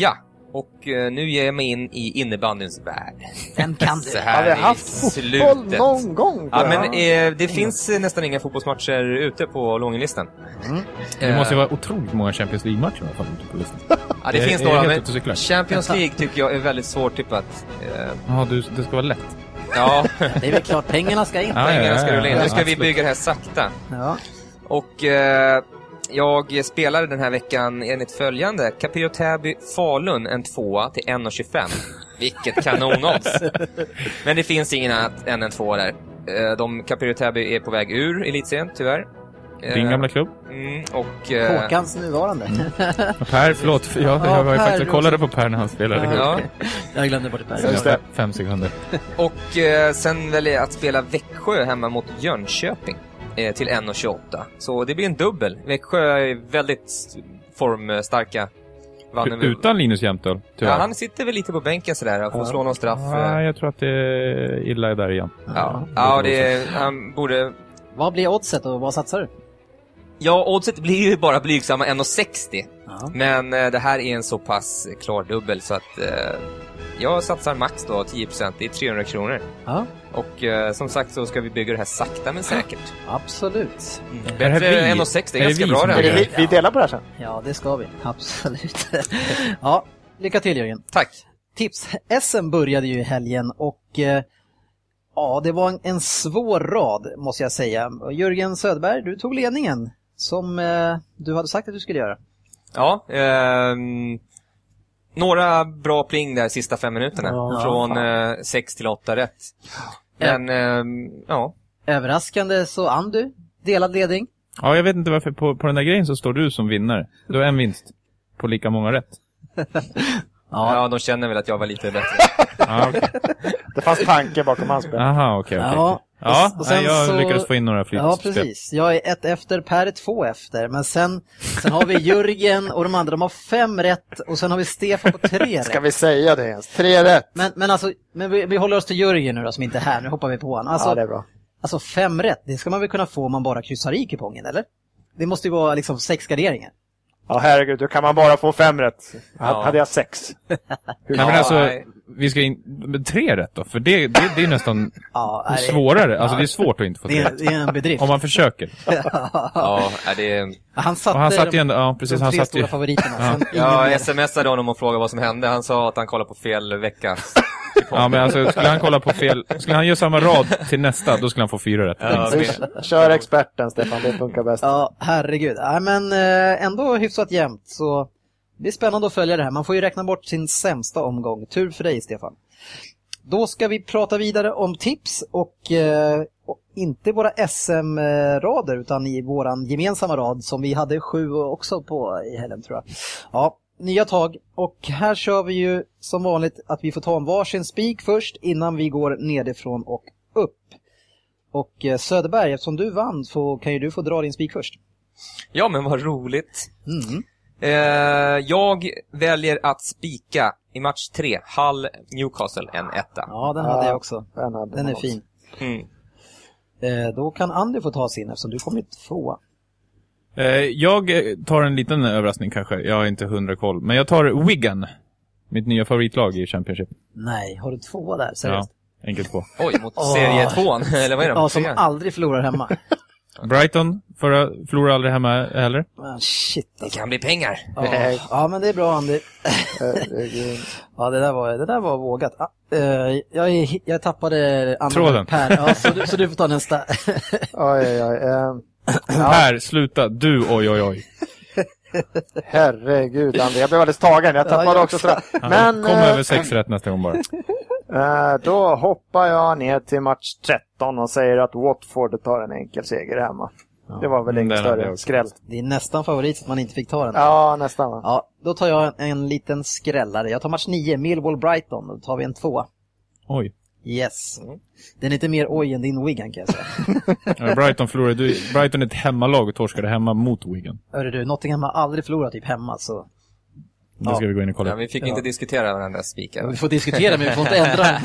Speaker 3: Ja, Och eh, nu ger jag mig in i innebandyns värld.
Speaker 1: Vem kan
Speaker 3: Så
Speaker 1: det?
Speaker 3: här
Speaker 4: Har vi
Speaker 3: i
Speaker 4: haft fotboll
Speaker 3: slutet.
Speaker 4: någon gång?
Speaker 3: Ja,
Speaker 4: bara?
Speaker 3: men eh, det finns eh, nästan inga fotbollsmatcher ute på långlistan.
Speaker 2: Det måste ju vara otroligt många Champions League-matcher i alla fall ute på listan.
Speaker 3: Eh. Ja, det
Speaker 2: Jag-
Speaker 3: finns
Speaker 2: jag är
Speaker 3: några,
Speaker 2: helt
Speaker 3: men
Speaker 2: ute och cyklar.
Speaker 3: Champions League tycker jag är väldigt svårtippat. Eh,
Speaker 2: Ja, du, det ska vara lätt.
Speaker 3: ja,
Speaker 1: Det är väl klart pengarna ska in.
Speaker 2: Ja, ja, ja,
Speaker 3: pengarna ska
Speaker 2: ja,
Speaker 3: rulla in.
Speaker 2: ja,
Speaker 3: Nu ska vi
Speaker 2: absolut.
Speaker 3: bygga det här sakta.
Speaker 1: Ja.
Speaker 3: Och eh, jag spelade den här veckan enligt följande. Capio Täby Falun en tvåa till 1,25. Vilket kanonodds! Men det finns ingen annat än en tvåa där. Eh, de, Capio Täby är på väg ur elitserien, tyvärr. Eh,
Speaker 2: Din gamla klubb.
Speaker 3: Mm, och... eh,
Speaker 1: Håkans nuvarande.
Speaker 2: Per, förlåt. för Jag,
Speaker 1: Ja,
Speaker 2: jag var ju
Speaker 1: Per,
Speaker 2: faktiskt
Speaker 1: du
Speaker 2: och kollade på Per när han spelade.
Speaker 1: Ja.
Speaker 3: ja.
Speaker 1: Jag glömde bort det där.
Speaker 4: Just det.
Speaker 2: Fem sekunder.
Speaker 3: Och eh, sen väljer jag att spela Växjö hemma mot Jönköping eh, till 1,28. Så det blir en dubbel. Växjö är väldigt formstarka. Vann över-
Speaker 2: Utan Linus Jämtdal,
Speaker 3: Ja,
Speaker 2: tyvärr.
Speaker 3: han sitter väl lite på bänken sådär och får
Speaker 1: Ja.
Speaker 3: slå någon straff.
Speaker 2: Nej,
Speaker 3: eh,
Speaker 2: jag tror att det är illa där igen.
Speaker 3: ja, ja det, han borde...
Speaker 1: Vad blir oddset och vad satsar du?
Speaker 3: Ja, oddset blir ju bara blygsamma 1,60.
Speaker 1: Ja.
Speaker 3: Men eh, det här är en så pass klar dubbel så att eh, jag satsar max då 10%. Det är 300 kronor.
Speaker 1: Ja.
Speaker 3: Och eh, som sagt så ska vi bygga det här sakta men säkert. eh,
Speaker 1: Absolut.
Speaker 2: Är det här
Speaker 3: Bättre
Speaker 2: vi?
Speaker 3: än 1,60. Det
Speaker 2: Är det
Speaker 3: är ganska
Speaker 2: vi
Speaker 3: bra
Speaker 2: som
Speaker 3: det
Speaker 4: Är
Speaker 3: här.
Speaker 4: det, vi, vi delar på det här sen.
Speaker 1: Ja, det ska vi. Absolut. ja, lycka till Jörgen.
Speaker 3: Tack.
Speaker 1: Tips. SM började ju i helgen och eh, ja, det var en, en svår rad måste jag säga. Jörgen Söderberg, du tog ledningen som eh, du hade sagt att du skulle göra.
Speaker 3: Ja, ehm, några bra pling där sista fem minuterna.
Speaker 4: Ja,
Speaker 3: från 6 till 8 rätt. Men, ehm, ja.
Speaker 1: Överraskande så ann du delad ledning.
Speaker 2: Ja, jag vet inte varför. På, på den där grejen så står du som vinnare. Du har en vinst. På lika många rätt.
Speaker 3: ja. de känner väl att jag var lite bättre.
Speaker 2: Ja, Ah, okej.
Speaker 4: Det fanns tanke bakom hans spel.
Speaker 2: Aha, okej. okej.
Speaker 1: Ja,
Speaker 2: ja
Speaker 1: och sen
Speaker 2: jag
Speaker 1: så-
Speaker 2: lyckades få in några flytspel.
Speaker 1: Ja, precis. Jag är ett efter, Per är två efter. Men sen, sen har vi Jörgen och de andra, de har fem rätt och sen har vi Stefan på tre
Speaker 4: Ska
Speaker 1: rätt.
Speaker 4: vi säga det ens? Tre rätt.
Speaker 1: Men, men alltså, men vi, vi håller oss till Jörgen nu då, som inte är här. Nu hoppar vi på honom. Alltså,
Speaker 4: ja, det är bra.
Speaker 1: alltså fem rätt, det ska man väl kunna få om man bara kryssar i kupongen, eller? Det måste ju vara liksom sex garderingar.
Speaker 4: Ja, herregud, då kan man bara få fem rätt.
Speaker 3: Ja.
Speaker 4: Hade jag sex?
Speaker 2: Nej, men
Speaker 3: Ja,
Speaker 2: alltså,
Speaker 3: nej.
Speaker 2: vi ska in... men Tre rätt då? För det, det, det är nästan
Speaker 1: Ja, nej, det-
Speaker 2: svårare. Alltså, det är svårt att inte få
Speaker 1: Det
Speaker 2: tre
Speaker 1: är,
Speaker 2: rätt.
Speaker 1: det är en bedrift.
Speaker 2: Om man försöker.
Speaker 3: Ja, är det...
Speaker 1: Han satte,
Speaker 2: Och han satt ju
Speaker 1: de,
Speaker 2: ändå... Ja, precis.
Speaker 1: de
Speaker 2: Han
Speaker 1: tre
Speaker 2: satt
Speaker 1: stora
Speaker 2: ju...
Speaker 1: favoriterna.
Speaker 2: Ja.
Speaker 1: Sen ingen mer.
Speaker 3: Jag smsade honom och frågade vad som hände. Han sa att han kollade på fel vecka.
Speaker 2: Ja, men alltså, skulle han kolla på fel... Skulle han göra samma rad till nästa, då skulle han få fyra rätt.
Speaker 3: Ja, det-
Speaker 4: Kör experten, Stefan. Det funkar bäst.
Speaker 1: Ja, herregud. Nej, men eh, ändå hyfsat jämnt. Så det blir spännande att följa det här. Man får ju räkna bort sin sämsta omgång. Tur för dig, Stefan. Då ska vi prata vidare om tips och, eh, och inte våra SM-rader utan i våran gemensamma rad som vi hade sju också på i helgen tror jag. Ja, nya tag och här kör vi ju som vanligt att vi får ta en varsin spik först innan vi går nedifrån och upp. Och eh, Söderberg, eftersom du vann så kan ju du få dra din spik först.
Speaker 3: Ja, men vad roligt.
Speaker 1: Mm.
Speaker 3: Eh, jag väljer att spika i match tre, Hall Newcastle, en etta.
Speaker 1: Ja, den hade
Speaker 4: Ja.
Speaker 1: jag också.
Speaker 4: Den, hade
Speaker 1: Den
Speaker 4: man
Speaker 1: är
Speaker 4: också.
Speaker 1: fin.
Speaker 3: Mm.
Speaker 1: Eh, Då kan Andy få ta sin eftersom du kommer tvåa.
Speaker 2: Eh, jag eh, tar en liten överraskning kanske. Jag har inte hundra koll. Men jag tar Wigan. Mitt nya favoritlag i Championship.
Speaker 1: Nej, har du tvåa där? Seriöst?
Speaker 2: Ja, enkelt på.
Speaker 3: Oj, mot
Speaker 1: Åh.
Speaker 3: serie tvåan. Eller vad är
Speaker 1: Ja,
Speaker 3: det?
Speaker 1: som
Speaker 3: Trean?
Speaker 1: aldrig förlorar hemma.
Speaker 2: Brighton förra, förlorade aldrig hemma heller.
Speaker 1: Ah, Shit
Speaker 3: Det
Speaker 1: alltså.
Speaker 3: kan bli pengar.
Speaker 1: Ja. ja, men det är bra Andy.
Speaker 4: Herregud.
Speaker 1: Ja, det där var, det där var vågat. Ah, eh, jag, är- jag tappade Anna
Speaker 2: Tråden.
Speaker 1: Per, ja, så, du, så du får ta nästa.
Speaker 4: Oj, oj, oj. Eh,
Speaker 2: Per, sluta. Du, oj, oj, oj.
Speaker 4: herregud, André. Jag blev alldeles tagen. Jag tappade
Speaker 1: Ja, jag
Speaker 4: också. Tror jag.
Speaker 2: Han
Speaker 4: Men
Speaker 2: kom
Speaker 4: eh,
Speaker 2: över sex rätt nästa gång bara.
Speaker 4: eh, då hoppar jag ner till match 13 och säger att Watford tar en enkel seger hemma. Det var väl
Speaker 2: Mm, den
Speaker 4: ingen
Speaker 2: hade jag
Speaker 4: större
Speaker 2: också.
Speaker 4: skräll.
Speaker 1: Det är nästan favorit att man inte fick ta den.
Speaker 4: Ja, nästan. va?
Speaker 1: Ja, då tar jag en, en liten skrällare. Jag tar match 9, Millwall-Brighton. Då tar vi en tvåa.
Speaker 2: Oj.
Speaker 1: Yes.
Speaker 3: Mm.
Speaker 1: Den är inte mer oj än din Wigan kan jag säga.
Speaker 2: Ja, Eh, Brighton förlorade. Du, Brighton är ett hemmalag och torskade hemma mot Wigan.
Speaker 1: Hörru du, Nottingham har aldrig förlorat typ hemma så
Speaker 2: Det ska vi gå in och
Speaker 3: Ja,
Speaker 2: kolla.
Speaker 3: vi fick inte diskutera varandras spikar.
Speaker 1: vi får diskutera men vi får inte ändra den.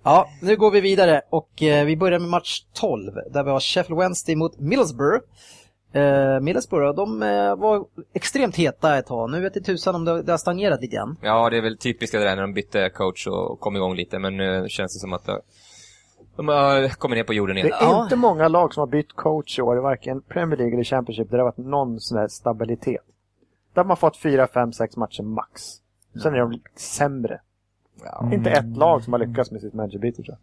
Speaker 1: ja, nu går vi vidare och eh, vi börjar med match 12 där vi har Sheffield Wednesday mot Middlesbrough. Eh, Middlesbrough, de eh, var extremt heta ett tag. Nu vet jag tusan om det, det har stagnerat lite grann.
Speaker 3: Ja, det är väl typiskt det där när de bytte coach och kom igång lite, men nu känns det som att de- de har kommit ner på jorden
Speaker 4: Det
Speaker 3: igen.
Speaker 4: är
Speaker 1: Ja.
Speaker 4: inte många lag som har bytt coach i år, i varken Premier League eller Championship, där det har varit någon sån här stabilitet. Där har man fått fyra, fem, sex matcher max. Sen är de sämre.
Speaker 3: Ja.
Speaker 4: Inte ett lag som har lyckats med sitt managerbyte tror jag.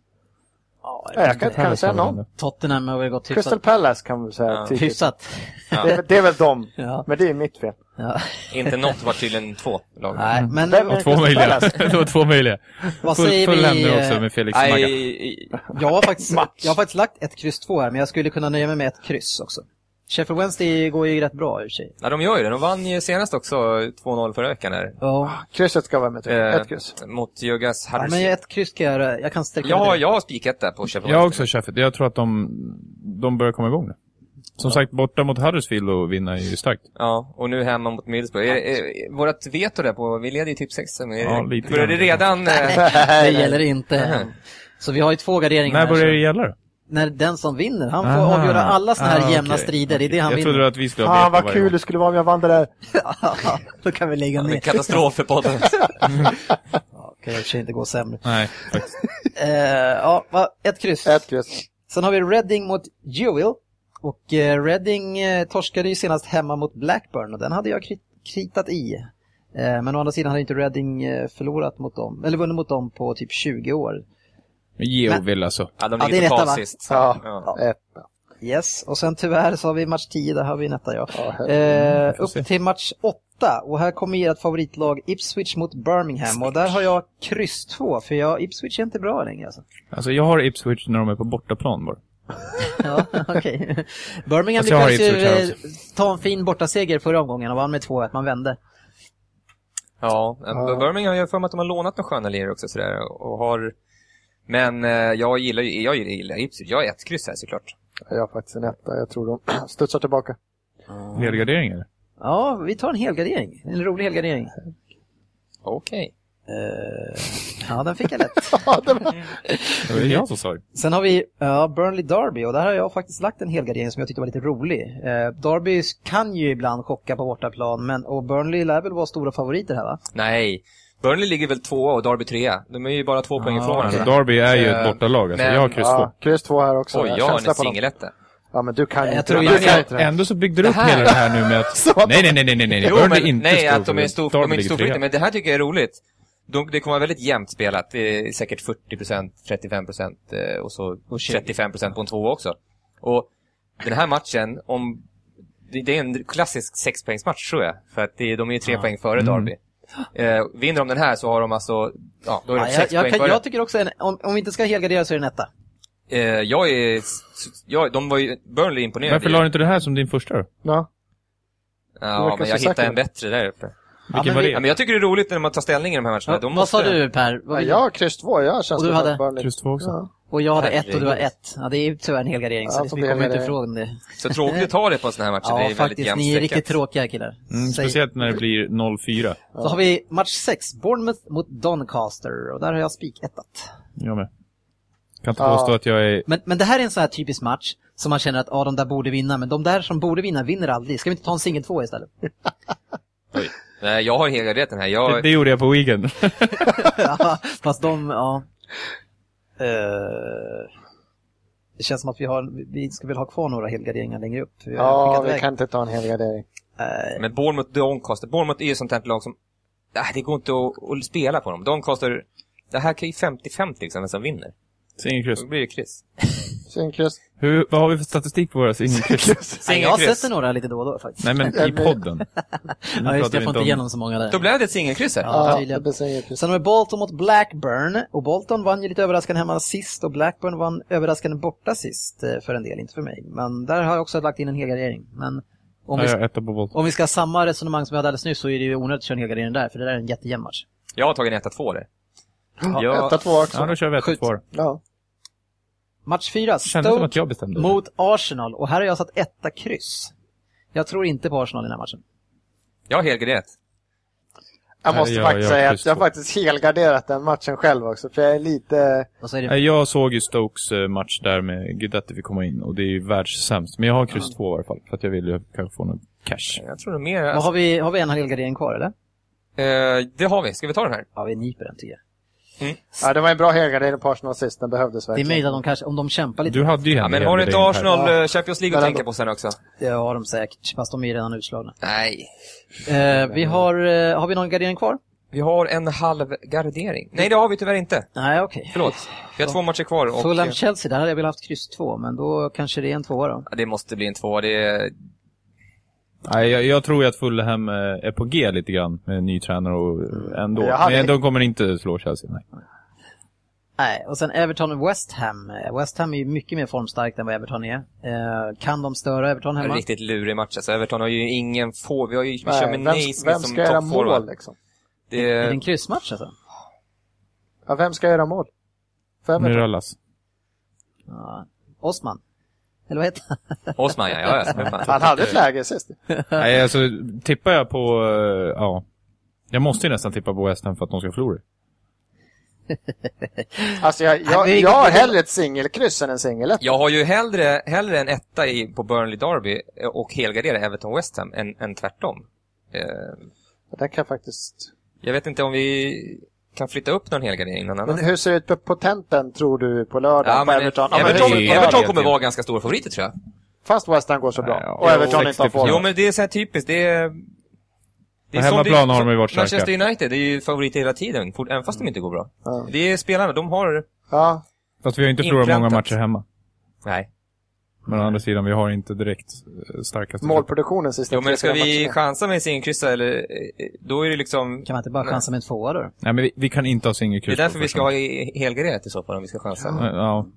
Speaker 1: Ja,
Speaker 4: Ja, jag kan, kan jag säga någon.
Speaker 1: Tottenham har väl gått
Speaker 4: Crystal
Speaker 1: hyfsat.
Speaker 4: Palace kan vi säga
Speaker 3: Ja.
Speaker 4: tydligt.
Speaker 1: hyfsat.
Speaker 4: Det, är, väl- det är väl dem.
Speaker 1: Ja,
Speaker 4: Men det är mitt fel.
Speaker 1: ja.
Speaker 3: Inte något var tydligen två lag.
Speaker 1: Nej, men
Speaker 4: Vem
Speaker 2: Det var
Speaker 4: är-
Speaker 2: två möjliga. det var två möjliga.
Speaker 1: vad
Speaker 2: Full,
Speaker 1: säger
Speaker 2: full
Speaker 1: vi?
Speaker 2: nu också
Speaker 1: eh,
Speaker 2: med Felix
Speaker 3: Nej,
Speaker 2: Magga.
Speaker 3: i- i-
Speaker 1: Jag har, faktiskt,
Speaker 4: match.
Speaker 1: jag har faktiskt lagt ett kryss två här, men jag skulle kunna nöja mig med ett kryss också. Sheffield Wednesday går ju rätt bra i och för sig.
Speaker 3: ja, de gör ju det. De vann ju senast också, 2-0 förra veckan här.
Speaker 1: Ja,
Speaker 4: Krysset ska vara med. tror jag.
Speaker 3: Eh,
Speaker 4: Ett kryss.
Speaker 3: Mot Jögas
Speaker 1: ja, men
Speaker 3: Harris.
Speaker 1: ett kryss kan jag, jag kan sträcka mig
Speaker 3: Ah, Ja,
Speaker 1: till.
Speaker 3: jag har spikat där på Sheffield
Speaker 2: Jag har
Speaker 3: Wednesday.
Speaker 2: också Sheffield. Jag tror att de, de börjar komma igång nu. Som sagt, borta mot Huddersfield och vinna är ju starkt.
Speaker 3: Ja, och nu hemma mot Middlesbrough. Är, är, är, vårat veto där på, vi leder ju typ 6
Speaker 2: Ja, lite
Speaker 3: Börjar det
Speaker 2: grann.
Speaker 3: redan... eh,
Speaker 1: Det gäller inte än. Så vi har ju två garderingar
Speaker 2: När
Speaker 1: här,
Speaker 2: börjar
Speaker 1: så-
Speaker 2: det gälla då?
Speaker 1: När den som vinner, han får
Speaker 2: Aha.
Speaker 1: avgöra alla såna här
Speaker 2: Ah,
Speaker 1: jämna
Speaker 2: okej.
Speaker 1: strider. Det är det han
Speaker 2: Jag
Speaker 1: vinner.
Speaker 2: trodde att vi skulle ha
Speaker 4: Fan
Speaker 2: veto
Speaker 4: vad
Speaker 2: varje
Speaker 4: kul
Speaker 2: gång.
Speaker 4: det skulle vara om jag vann det där.
Speaker 1: Ja, Då kan vi lägga ner.
Speaker 3: Katastrof för podden.
Speaker 1: Ja, kan i och för sig inte gå sämre.
Speaker 2: Nej, faktiskt.
Speaker 1: Eh, ja, va, ett kryss.
Speaker 4: Ett kryss.
Speaker 1: Sen har vi Reading mot Jewel. Och eh, Reading eh, torskade ju senast hemma mot Blackburn och den hade jag krit kritat i. Eh, men å andra sidan hade inte Reading eh, förlorat mot dem, eller vunnit mot dem på typ 20 år.
Speaker 2: Men Geo vill alltså.
Speaker 3: Ja, de
Speaker 1: Ja, det är
Speaker 3: ligger
Speaker 1: detta,
Speaker 3: totalt
Speaker 1: va?
Speaker 3: sist.
Speaker 4: Ja.
Speaker 3: Ja.
Speaker 4: Ett.
Speaker 1: Eh, Yes, och sen tyvärr så har vi match 10, där har vi en etta ja.
Speaker 4: Ja, här-
Speaker 1: Eh,
Speaker 2: Mm, får se.
Speaker 1: upp till match 8 och här kommer ert favoritlag Ipswich mot Birmingham och där har jag kryss 2 för jag, Ipswich är inte bra längre alltså.
Speaker 2: Alltså, jag har Ipswich när de är på bortaplan bara.
Speaker 1: Ja, okej. Birmingham
Speaker 2: Fast Alltså, jag
Speaker 1: lyckades
Speaker 2: har
Speaker 1: ju
Speaker 2: Ipswich här
Speaker 1: eh, ta en fin bortaseger förra omgången och vann med 2-1, man vände.
Speaker 3: Ja, eh, Birmingham har jag för mig att de har lånat några sköna lirare också sådär och har... Men eh, jag gillar ju, jag gillar Ipswich. Jag har ett kryss här såklart.
Speaker 4: Jag har faktiskt en etta. Jag tror de studsar tillbaka.
Speaker 2: Helgardering eller?
Speaker 1: Ja, vi tar en helgardering. En rolig helgardering.
Speaker 3: Okej.
Speaker 1: Eh, ja, den fick jag lätt.
Speaker 4: Ja, det var-
Speaker 2: Det var jag som sa det.
Speaker 1: Sen har vi ja, Burnley Derby och där har jag faktiskt lagt en helgardering som jag tyckte var lite rolig. Eh, Derby kan ju ibland chocka på bortaplan men, och Burnley lär väl vara stora favoriter här va?
Speaker 3: Nej. Burnley ligger väl tvåa och Derby trea. De är ju bara två poäng ifrån
Speaker 2: alltså,
Speaker 3: varandra.
Speaker 2: Derby är ju ett
Speaker 3: Eh,
Speaker 2: bortalag. Alltså.
Speaker 3: men-
Speaker 2: Jag har kryss två.
Speaker 4: Ja, kryss två här också.
Speaker 3: Oj, jag har
Speaker 4: Känsla
Speaker 3: en
Speaker 4: på dem.
Speaker 3: singeletta.
Speaker 4: Ja, men du kan ju
Speaker 1: Jag
Speaker 4: inte
Speaker 1: tror
Speaker 4: det.
Speaker 1: jag-
Speaker 4: Du kan inte det.
Speaker 2: Ändå så byggde du upp
Speaker 3: Det här-
Speaker 2: hela det här nu med
Speaker 4: Så
Speaker 2: att...
Speaker 4: att
Speaker 2: Nej, nej, nej, nej, nej, nej.
Speaker 3: Jo,
Speaker 2: Burnley är
Speaker 3: men,
Speaker 2: inte
Speaker 3: nej, att de
Speaker 2: storfavoriter.
Speaker 3: är, stor,
Speaker 2: Derby
Speaker 3: de är inte
Speaker 2: ligger
Speaker 3: storfavoriter,
Speaker 2: trea.
Speaker 3: men det här tycker jag är roligt. De, det kommer vara väldigt jämnt spelat. Det är säkert 40 procent, 35 procent eh, och så 35 procent på en tvåa också. Och den här matchen, om, det, det är en klassisk sexpoängsmatch tror jag. För att det, de är ju tre
Speaker 1: Ah.
Speaker 3: poäng före
Speaker 1: Mm.
Speaker 3: Derby. Eh, vinner de den här så har de alltså, ja, då är de
Speaker 1: Ah, Ja, jag,
Speaker 3: sex
Speaker 1: jag,
Speaker 3: poäng
Speaker 1: kan,
Speaker 3: före.
Speaker 1: jag tycker också, en, om, om vi inte ska helgardera så är det en etta.
Speaker 3: Eh, jag är, jag, de var ju, Burnley imponerade
Speaker 2: Varför
Speaker 3: ju.
Speaker 2: la du inte det här som din första då?
Speaker 4: Ja.
Speaker 3: Ja, men
Speaker 4: så
Speaker 3: jag hittade
Speaker 4: säker.
Speaker 3: en bättre där uppe.
Speaker 2: Vilken
Speaker 1: men
Speaker 2: var
Speaker 1: vi-
Speaker 3: Ja,
Speaker 2: det?
Speaker 3: men jag tycker det är roligt när man tar ställning i de här matcherna.
Speaker 1: Ja,
Speaker 3: de
Speaker 1: Vad sa
Speaker 3: måste-
Speaker 1: du Per?
Speaker 4: Ja,
Speaker 1: Vad vill
Speaker 4: jag har kryss två. Jag har
Speaker 1: Och
Speaker 4: känsla
Speaker 1: du
Speaker 4: för
Speaker 1: hade?
Speaker 4: att Burnley...
Speaker 2: Kryss två också.
Speaker 4: Ja.
Speaker 1: Och jag hade ett
Speaker 3: Herregud.
Speaker 1: och du har ett. Ja, det är ju tyvärr en helgardering
Speaker 4: Ja,
Speaker 1: så vi
Speaker 4: problemet
Speaker 1: kommer inte
Speaker 4: är-
Speaker 1: ifrån det.
Speaker 3: Så tråkigt att ta det på en sån här match. det är
Speaker 1: Ja,
Speaker 3: ju väldigt
Speaker 1: faktiskt.
Speaker 3: jämnt
Speaker 1: Ni är
Speaker 3: streckat.
Speaker 1: riktigt tråkiga killar.
Speaker 2: Mm,
Speaker 1: Säg-
Speaker 2: speciellt när det blir 0-4.
Speaker 1: Så har vi match 6, Bournemouth mot Doncaster och där har jag spikettat.
Speaker 2: Jag med. Kan inte
Speaker 4: Ja.
Speaker 2: påstå att jag är...
Speaker 1: Men, men det här är en sån här typisk match som man känner att ah, de där borde vinna, men de där som borde vinna vinner aldrig. Ska vi inte ta en singel två istället?
Speaker 3: Nej, jag har helgardeten här. Jag,
Speaker 2: Det, det gjorde jag på weekend.
Speaker 1: Ja, Fast de, ja. Eh, det känns som att vi, har, vi ska väl ha kvar några helgarderingar längre upp. Vi har
Speaker 4: Ja,
Speaker 1: skickat
Speaker 4: vi
Speaker 1: iväg.
Speaker 4: kan inte ta en hel gardering.
Speaker 1: Eh,
Speaker 3: Men Bournemouth, Doncaster. Bournemouth är ju sånt här lag som... Nej, det går inte att, att spela på dem. Doncaster, det här kan ju 50-50 liksom, vem som vinner.
Speaker 2: Singelkryss.
Speaker 3: Då blir det kryss.
Speaker 4: Singelkryss.
Speaker 2: Hur, vad har vi för statistik på våra singelkryss?
Speaker 1: nej, jag
Speaker 3: Singelkryss.
Speaker 1: sätter några lite då och då faktiskt.
Speaker 2: Nej, men i podden. Nu
Speaker 1: ja, just det,
Speaker 2: pratar vi
Speaker 1: jag får inte
Speaker 2: om-
Speaker 1: igenom så många där.
Speaker 3: Då blev det ett singelkryss här.
Speaker 1: Ja,
Speaker 4: Ja,
Speaker 1: tydligen.
Speaker 4: det blir singelkryss.
Speaker 1: Sen har vi Bolton mot Blackburn. Och Bolton vann ju lite överraskande hemma sist och Blackburn vann överraskande borta sist eh, för en del, inte för mig. Men där har jag också lagt in en helgardering. Men om,
Speaker 2: Ja,
Speaker 1: vi,
Speaker 2: jag är etta på Bolton.
Speaker 1: om vi ska ha samma resonemang som vi hade alldeles nyss så är det ju onödigt att köra en helgardering där, för det där är en jättejämn match.
Speaker 3: Jag har tagit en 1-2 där.
Speaker 4: Ja, etta, två också.
Speaker 2: Ja, då kör vi etta
Speaker 1: Skjut.
Speaker 2: kvar.
Speaker 4: Ja.
Speaker 1: Match 4,
Speaker 2: Kändes som att
Speaker 1: Stoke
Speaker 2: jag bestämde. det.
Speaker 1: mot Arsenal. Och här har jag satt etta kryss. Jag tror inte på Arsenal i den här matchen.
Speaker 3: Jag har helgarderat.
Speaker 4: Jag
Speaker 2: Nej,
Speaker 4: måste
Speaker 2: jag-
Speaker 4: faktiskt
Speaker 2: jag
Speaker 4: säga att
Speaker 2: kryssar.
Speaker 4: jag har faktiskt helgarderat den matchen själv också, för jag är lite...
Speaker 1: Vad säger
Speaker 2: Nej,
Speaker 1: du?
Speaker 2: Jag såg ju Stokes eh, match där med Guidetti vi komma in och det är ju världssämst. Men jag har kryss två i varje fall för att jag vill ju kanske få någon cash.
Speaker 3: Jag tror nog mer...
Speaker 1: Vad
Speaker 3: Alltså,
Speaker 1: Har vi, har vi en helgardering kvar eller?
Speaker 3: eh, det har vi. Ska vi ta den här?
Speaker 1: Ja, vi nyper den tycker jag.
Speaker 4: Ja, det var en bra helgardering på Arsenal sist, den behövdes
Speaker 1: Det är
Speaker 4: verkligen.
Speaker 1: möjligt att de kanske, om de kämpar lite,
Speaker 2: Du hade ju
Speaker 3: Ja,
Speaker 2: henne
Speaker 3: men
Speaker 2: i
Speaker 3: har du inte
Speaker 2: helgarderingen
Speaker 3: Arsenal eh, Champions League att
Speaker 4: Men ändå.
Speaker 3: tänka på sen också?
Speaker 1: det har de säkert, fast de är ju redan utslagna.
Speaker 3: Nej.
Speaker 1: Eh, vi har, eh, har vi någon gardering kvar?
Speaker 3: Vi har en halv gardering. Nej, det har vi tyvärr inte.
Speaker 1: Nej, okej.
Speaker 3: Förlåt. Vi har två matcher kvar och...
Speaker 1: Fulham-Chelsea, där hade jag velat haft kryss två, men då kanske det är en tvåa då.
Speaker 3: Ja, Det måste bli en tvåa. Det är...
Speaker 2: här. Nej, jag, jag tror ju att Fulham eh, är på G lite grann med en ny tränare och eh, ändå.
Speaker 4: Jag hade-
Speaker 2: Men de kommer inte slå Chelsea, nej.
Speaker 1: Nej, och sen Everton och West Ham. Eh, West Ham är ju mycket mer formstarkt än vad Everton är. Eh, kan de störa Everton
Speaker 3: En
Speaker 1: hemma?
Speaker 3: riktigt lurig match. Alltså, Everton har ju ingen få. Vi har ju vi
Speaker 4: Nej,
Speaker 3: kör med
Speaker 4: vem,
Speaker 3: Naismith
Speaker 4: vem
Speaker 3: som
Speaker 4: ska göra mål
Speaker 3: toppforward.
Speaker 4: liksom?
Speaker 3: Det
Speaker 1: Är det
Speaker 3: är...
Speaker 1: en kryssmatch alltså?
Speaker 4: Ja, vem ska göra mål? För
Speaker 2: Nu
Speaker 4: Everton?
Speaker 2: rullas.
Speaker 1: Ja. Osman? Eller vad heter han?
Speaker 3: Osman, ja. ja, ja. för fan.
Speaker 4: Han hade ett läge sist.
Speaker 2: Nej, alltså tippar jag på, eh, ja. Jag måste ju nästan tippa på West Ham för att de ska förlora.
Speaker 4: Alltså jag, jag,
Speaker 1: vi-
Speaker 4: jag har hellre ett singelkryss än en singel
Speaker 3: Jag har ju hellre, hellre en etta i, på Burnley Derby eh, och helgardera Everton West Ham än, än tvärtom. Eh,
Speaker 4: Den kan jag faktiskt...
Speaker 3: jag vet inte om vi kan flytta upp någon helgardering någon
Speaker 4: Men
Speaker 3: annan.
Speaker 4: hur ser det ut på potenten tror du på lördag
Speaker 3: Ja,
Speaker 4: på
Speaker 3: men,
Speaker 4: Everton?
Speaker 3: Everton,
Speaker 4: Ja, men hur
Speaker 3: Everton,
Speaker 4: ser det ut på
Speaker 2: Everton-
Speaker 4: lördag?
Speaker 3: kommer vara ganska stora favoriter tror jag.
Speaker 4: Fast West Ham går så bra
Speaker 2: Ja,
Speaker 4: och Everton inte har
Speaker 2: 60%.
Speaker 3: Jo,
Speaker 4: forward.
Speaker 3: men det är så här typiskt. Det är, det
Speaker 2: På
Speaker 3: som
Speaker 2: hemmaplan
Speaker 3: det-
Speaker 2: har de ju varit starka.
Speaker 3: Manchester United är ju favoriter hela tiden, fort- även fast de inte går bra.
Speaker 4: Ja.
Speaker 3: Det är spelarna, de har...
Speaker 4: Ja,
Speaker 2: Fast vi har ju inte förlorat många
Speaker 3: Inpräntat.
Speaker 2: matcher hemma.
Speaker 3: Nej.
Speaker 2: Men å andra sidan, vi har inte direkt eh, starkaste...
Speaker 4: målproduktionen sista
Speaker 3: Jo, men ska
Speaker 4: tre, fyra
Speaker 3: vi
Speaker 4: matcherna.
Speaker 3: chansa med singelkryssa eller... eh, Då är det liksom...
Speaker 1: Kan man inte bara chansa med en tvåa då?
Speaker 2: Nej, men vi, vi kan inte ha
Speaker 3: Det är
Speaker 2: singelkryss.
Speaker 3: därför
Speaker 2: på
Speaker 3: vi ska
Speaker 2: första.
Speaker 3: ha i- helgarderat i så fall, om vi ska chansa.
Speaker 2: Eh, Ja,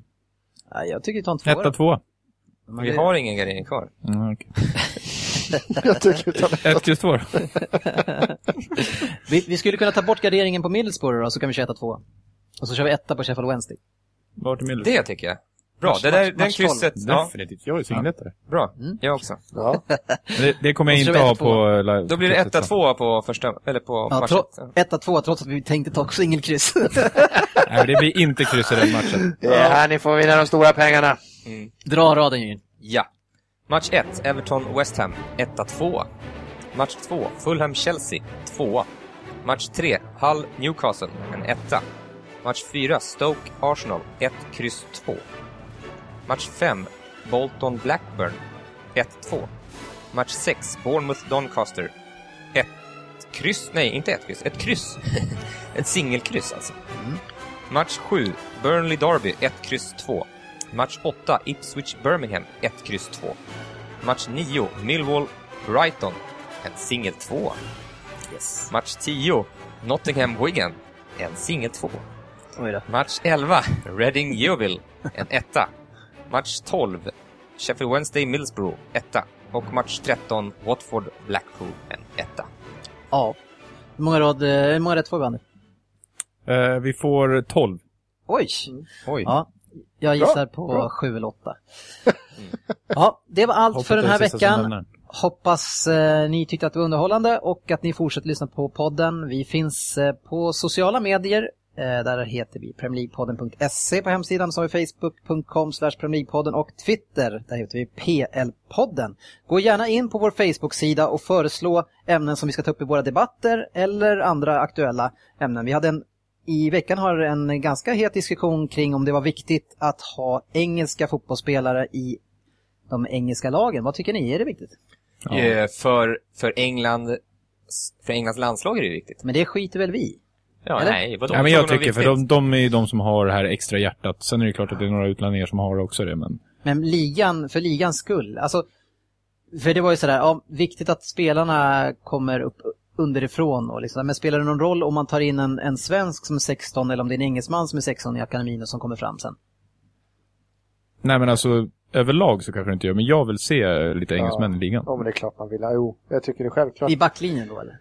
Speaker 1: Nej, jag tycker vi tar en tvåa
Speaker 2: etta,
Speaker 1: då.
Speaker 2: tvåa.
Speaker 1: Man-
Speaker 3: Vi har ingen gardering kvar.
Speaker 2: Mm, okej.
Speaker 4: Jag tycker utan...
Speaker 2: Ett kryss två då.
Speaker 1: vi, vi skulle kunna ta bort garderingen på Middlesbrough då, så kan vi köra etta tvåa. Och så kör vi etta på Sheffield Wednesday.
Speaker 2: Vart är Miller?
Speaker 3: Det tycker jag. Bra,
Speaker 1: Match-
Speaker 3: det där,
Speaker 1: match-
Speaker 3: den
Speaker 1: match
Speaker 3: krysset. Ja,
Speaker 2: Definitivt. Jag är singelättare.
Speaker 3: bra. Jag också.
Speaker 4: Ja.
Speaker 2: Det, det kommer jag
Speaker 1: Och så
Speaker 2: inte
Speaker 1: är det
Speaker 2: ha
Speaker 1: två.
Speaker 2: på eh, live.
Speaker 3: Då blir det 1-2 på första, eller på
Speaker 1: Ja,
Speaker 3: matchen.
Speaker 1: tro- etta tvåa trots att vi tänkte ta singelkryss.
Speaker 2: Nej, det blir inte kryss i den matchen.
Speaker 4: Det är här ni får vinna de stora pengarna.
Speaker 1: Dra raden Jürgen.
Speaker 3: Ja. Match 1, Everton-West Ham, 1-2. Match 2, Fulham-Chelsea, 2. Match 3, Hull-Newcastle, en etta. Match 4, Stoke-Arsenal, 1, kryss 2. Match 5, Bolton-Blackburn, 1-2. Match 6, Bournemouth-Doncaster, 1, kryss, nej inte 1 kryss, ett kryss. ett singelkryss alltså. Match 7, Burnley-Derby, 1, kryss 2. Match 8, Ipswich-Birmingham, 1, kryss 2. Match 9, Millwall-Brighton, en singel 2.
Speaker 1: Yes.
Speaker 3: Match 10, Nottingham-Wigan, en singel 2.
Speaker 1: Oj då.
Speaker 3: Match 11, Reading-Yeovil, en etta. Match 12, Sheffield Wednesday-Millsborough, etta. Och match 13, Watford-Blackpool, en etta.
Speaker 1: Ja. Hur många, rad, eh, hur många rätt får vi Andy?
Speaker 2: Eh, vi får 12.
Speaker 1: Oj!
Speaker 3: Oj.
Speaker 1: Ja, jag
Speaker 4: Bra,
Speaker 1: gissar på sju eller åtta. Ja, det var allt för den här
Speaker 2: Hoppas det är sista som
Speaker 1: veckan.
Speaker 2: lämnar.
Speaker 1: Hoppas eh, ni tyckte att det var underhållande och att ni fortsätter lyssna på podden. Vi finns eh, på sociala medier. Eh, där heter vi premierligpodden.se på hemsidan. Så har vi facebook.com slash premierligpodden och Twitter. Där heter vi PL-podden. Gå gärna in på vår Facebook-sida och föreslå ämnen som vi ska ta upp i våra debatter eller andra aktuella ämnen. Vi hade en i veckan har en ganska het diskussion kring om det var viktigt att ha engelska fotbollsspelare i de engelska lagen. Vad tycker ni? Är det viktigt?
Speaker 2: Ja.
Speaker 3: Eh, För, för, England, för Englands landslag är det viktigt.
Speaker 1: Men det skiter väl vi i?
Speaker 3: Ja,
Speaker 1: Eller?
Speaker 3: nej, vadå?
Speaker 2: Ja, men jag
Speaker 3: Frågan var
Speaker 2: tycker, för
Speaker 3: viktigt.
Speaker 2: de, de är ju de som har det här extra hjärtat. Sen är det ju klart att det är några utlänningar som har också det, men...
Speaker 1: Men ligan, för ligans skull. Alltså, för det var ju sådär, ja, viktigt att spelarna kommer upp underifrån och liksom, men spelar det någon roll om man tar in en, en svensk som är 16 eller om det är en engelsman som är 16 i akademin och som kommer fram sen?
Speaker 2: Nej, men alltså, överlag så kanske det inte gör, men jag vill se eh, lite engelsmän i ligan.
Speaker 4: Ja, men det är klart man vill. ha. Jo, jag tycker det är självklart.
Speaker 1: I backlinjen då eller?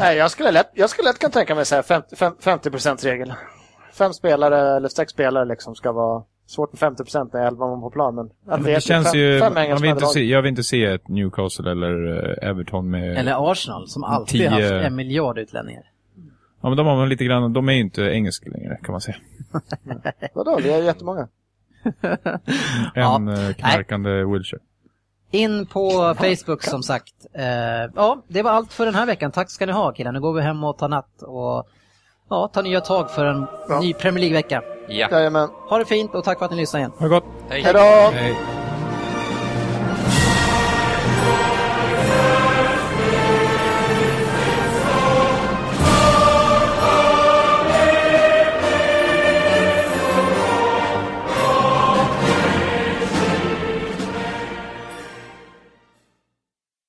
Speaker 4: Nej, jag skulle lätt, jag skulle lätt kunna tänka mig så här 50, fem- 50%-regeln. Fem spelare eller sex spelare liksom ska vara... Svårt med 50% när 11 man på plan, men... att
Speaker 2: Men
Speaker 4: är
Speaker 2: det
Speaker 4: typ
Speaker 2: känns
Speaker 4: fem-
Speaker 2: ju...
Speaker 4: fem
Speaker 2: man vill
Speaker 4: engelsmän i
Speaker 2: inte
Speaker 4: laget.
Speaker 2: se, jag vill inte se ett Newcastle eller eh, Everton med...
Speaker 1: Eller Arsenal som alltid
Speaker 2: Tio-
Speaker 1: haft en miljard utlänningar.
Speaker 2: Ja, men de har man lite grann, de är ju inte engelska längre kan man säga.
Speaker 4: Vadå, vi är jättemånga.
Speaker 1: Ja.
Speaker 2: En eh, knarkande Wilshire.
Speaker 1: In på Facebook som sagt. Eh, ja, det var allt för den här veckan. Tack ska ni ha killar. Nu går vi hem och tar natt och ja, tar nya tag för en
Speaker 4: Ja.
Speaker 1: ny Premier League-vecka.
Speaker 3: Ja.
Speaker 4: Jajamän.
Speaker 1: Ha det fint och tack för att ni lyssnade igen.
Speaker 2: Ha det gott!
Speaker 3: Hej.
Speaker 4: Hej då!
Speaker 2: Hej.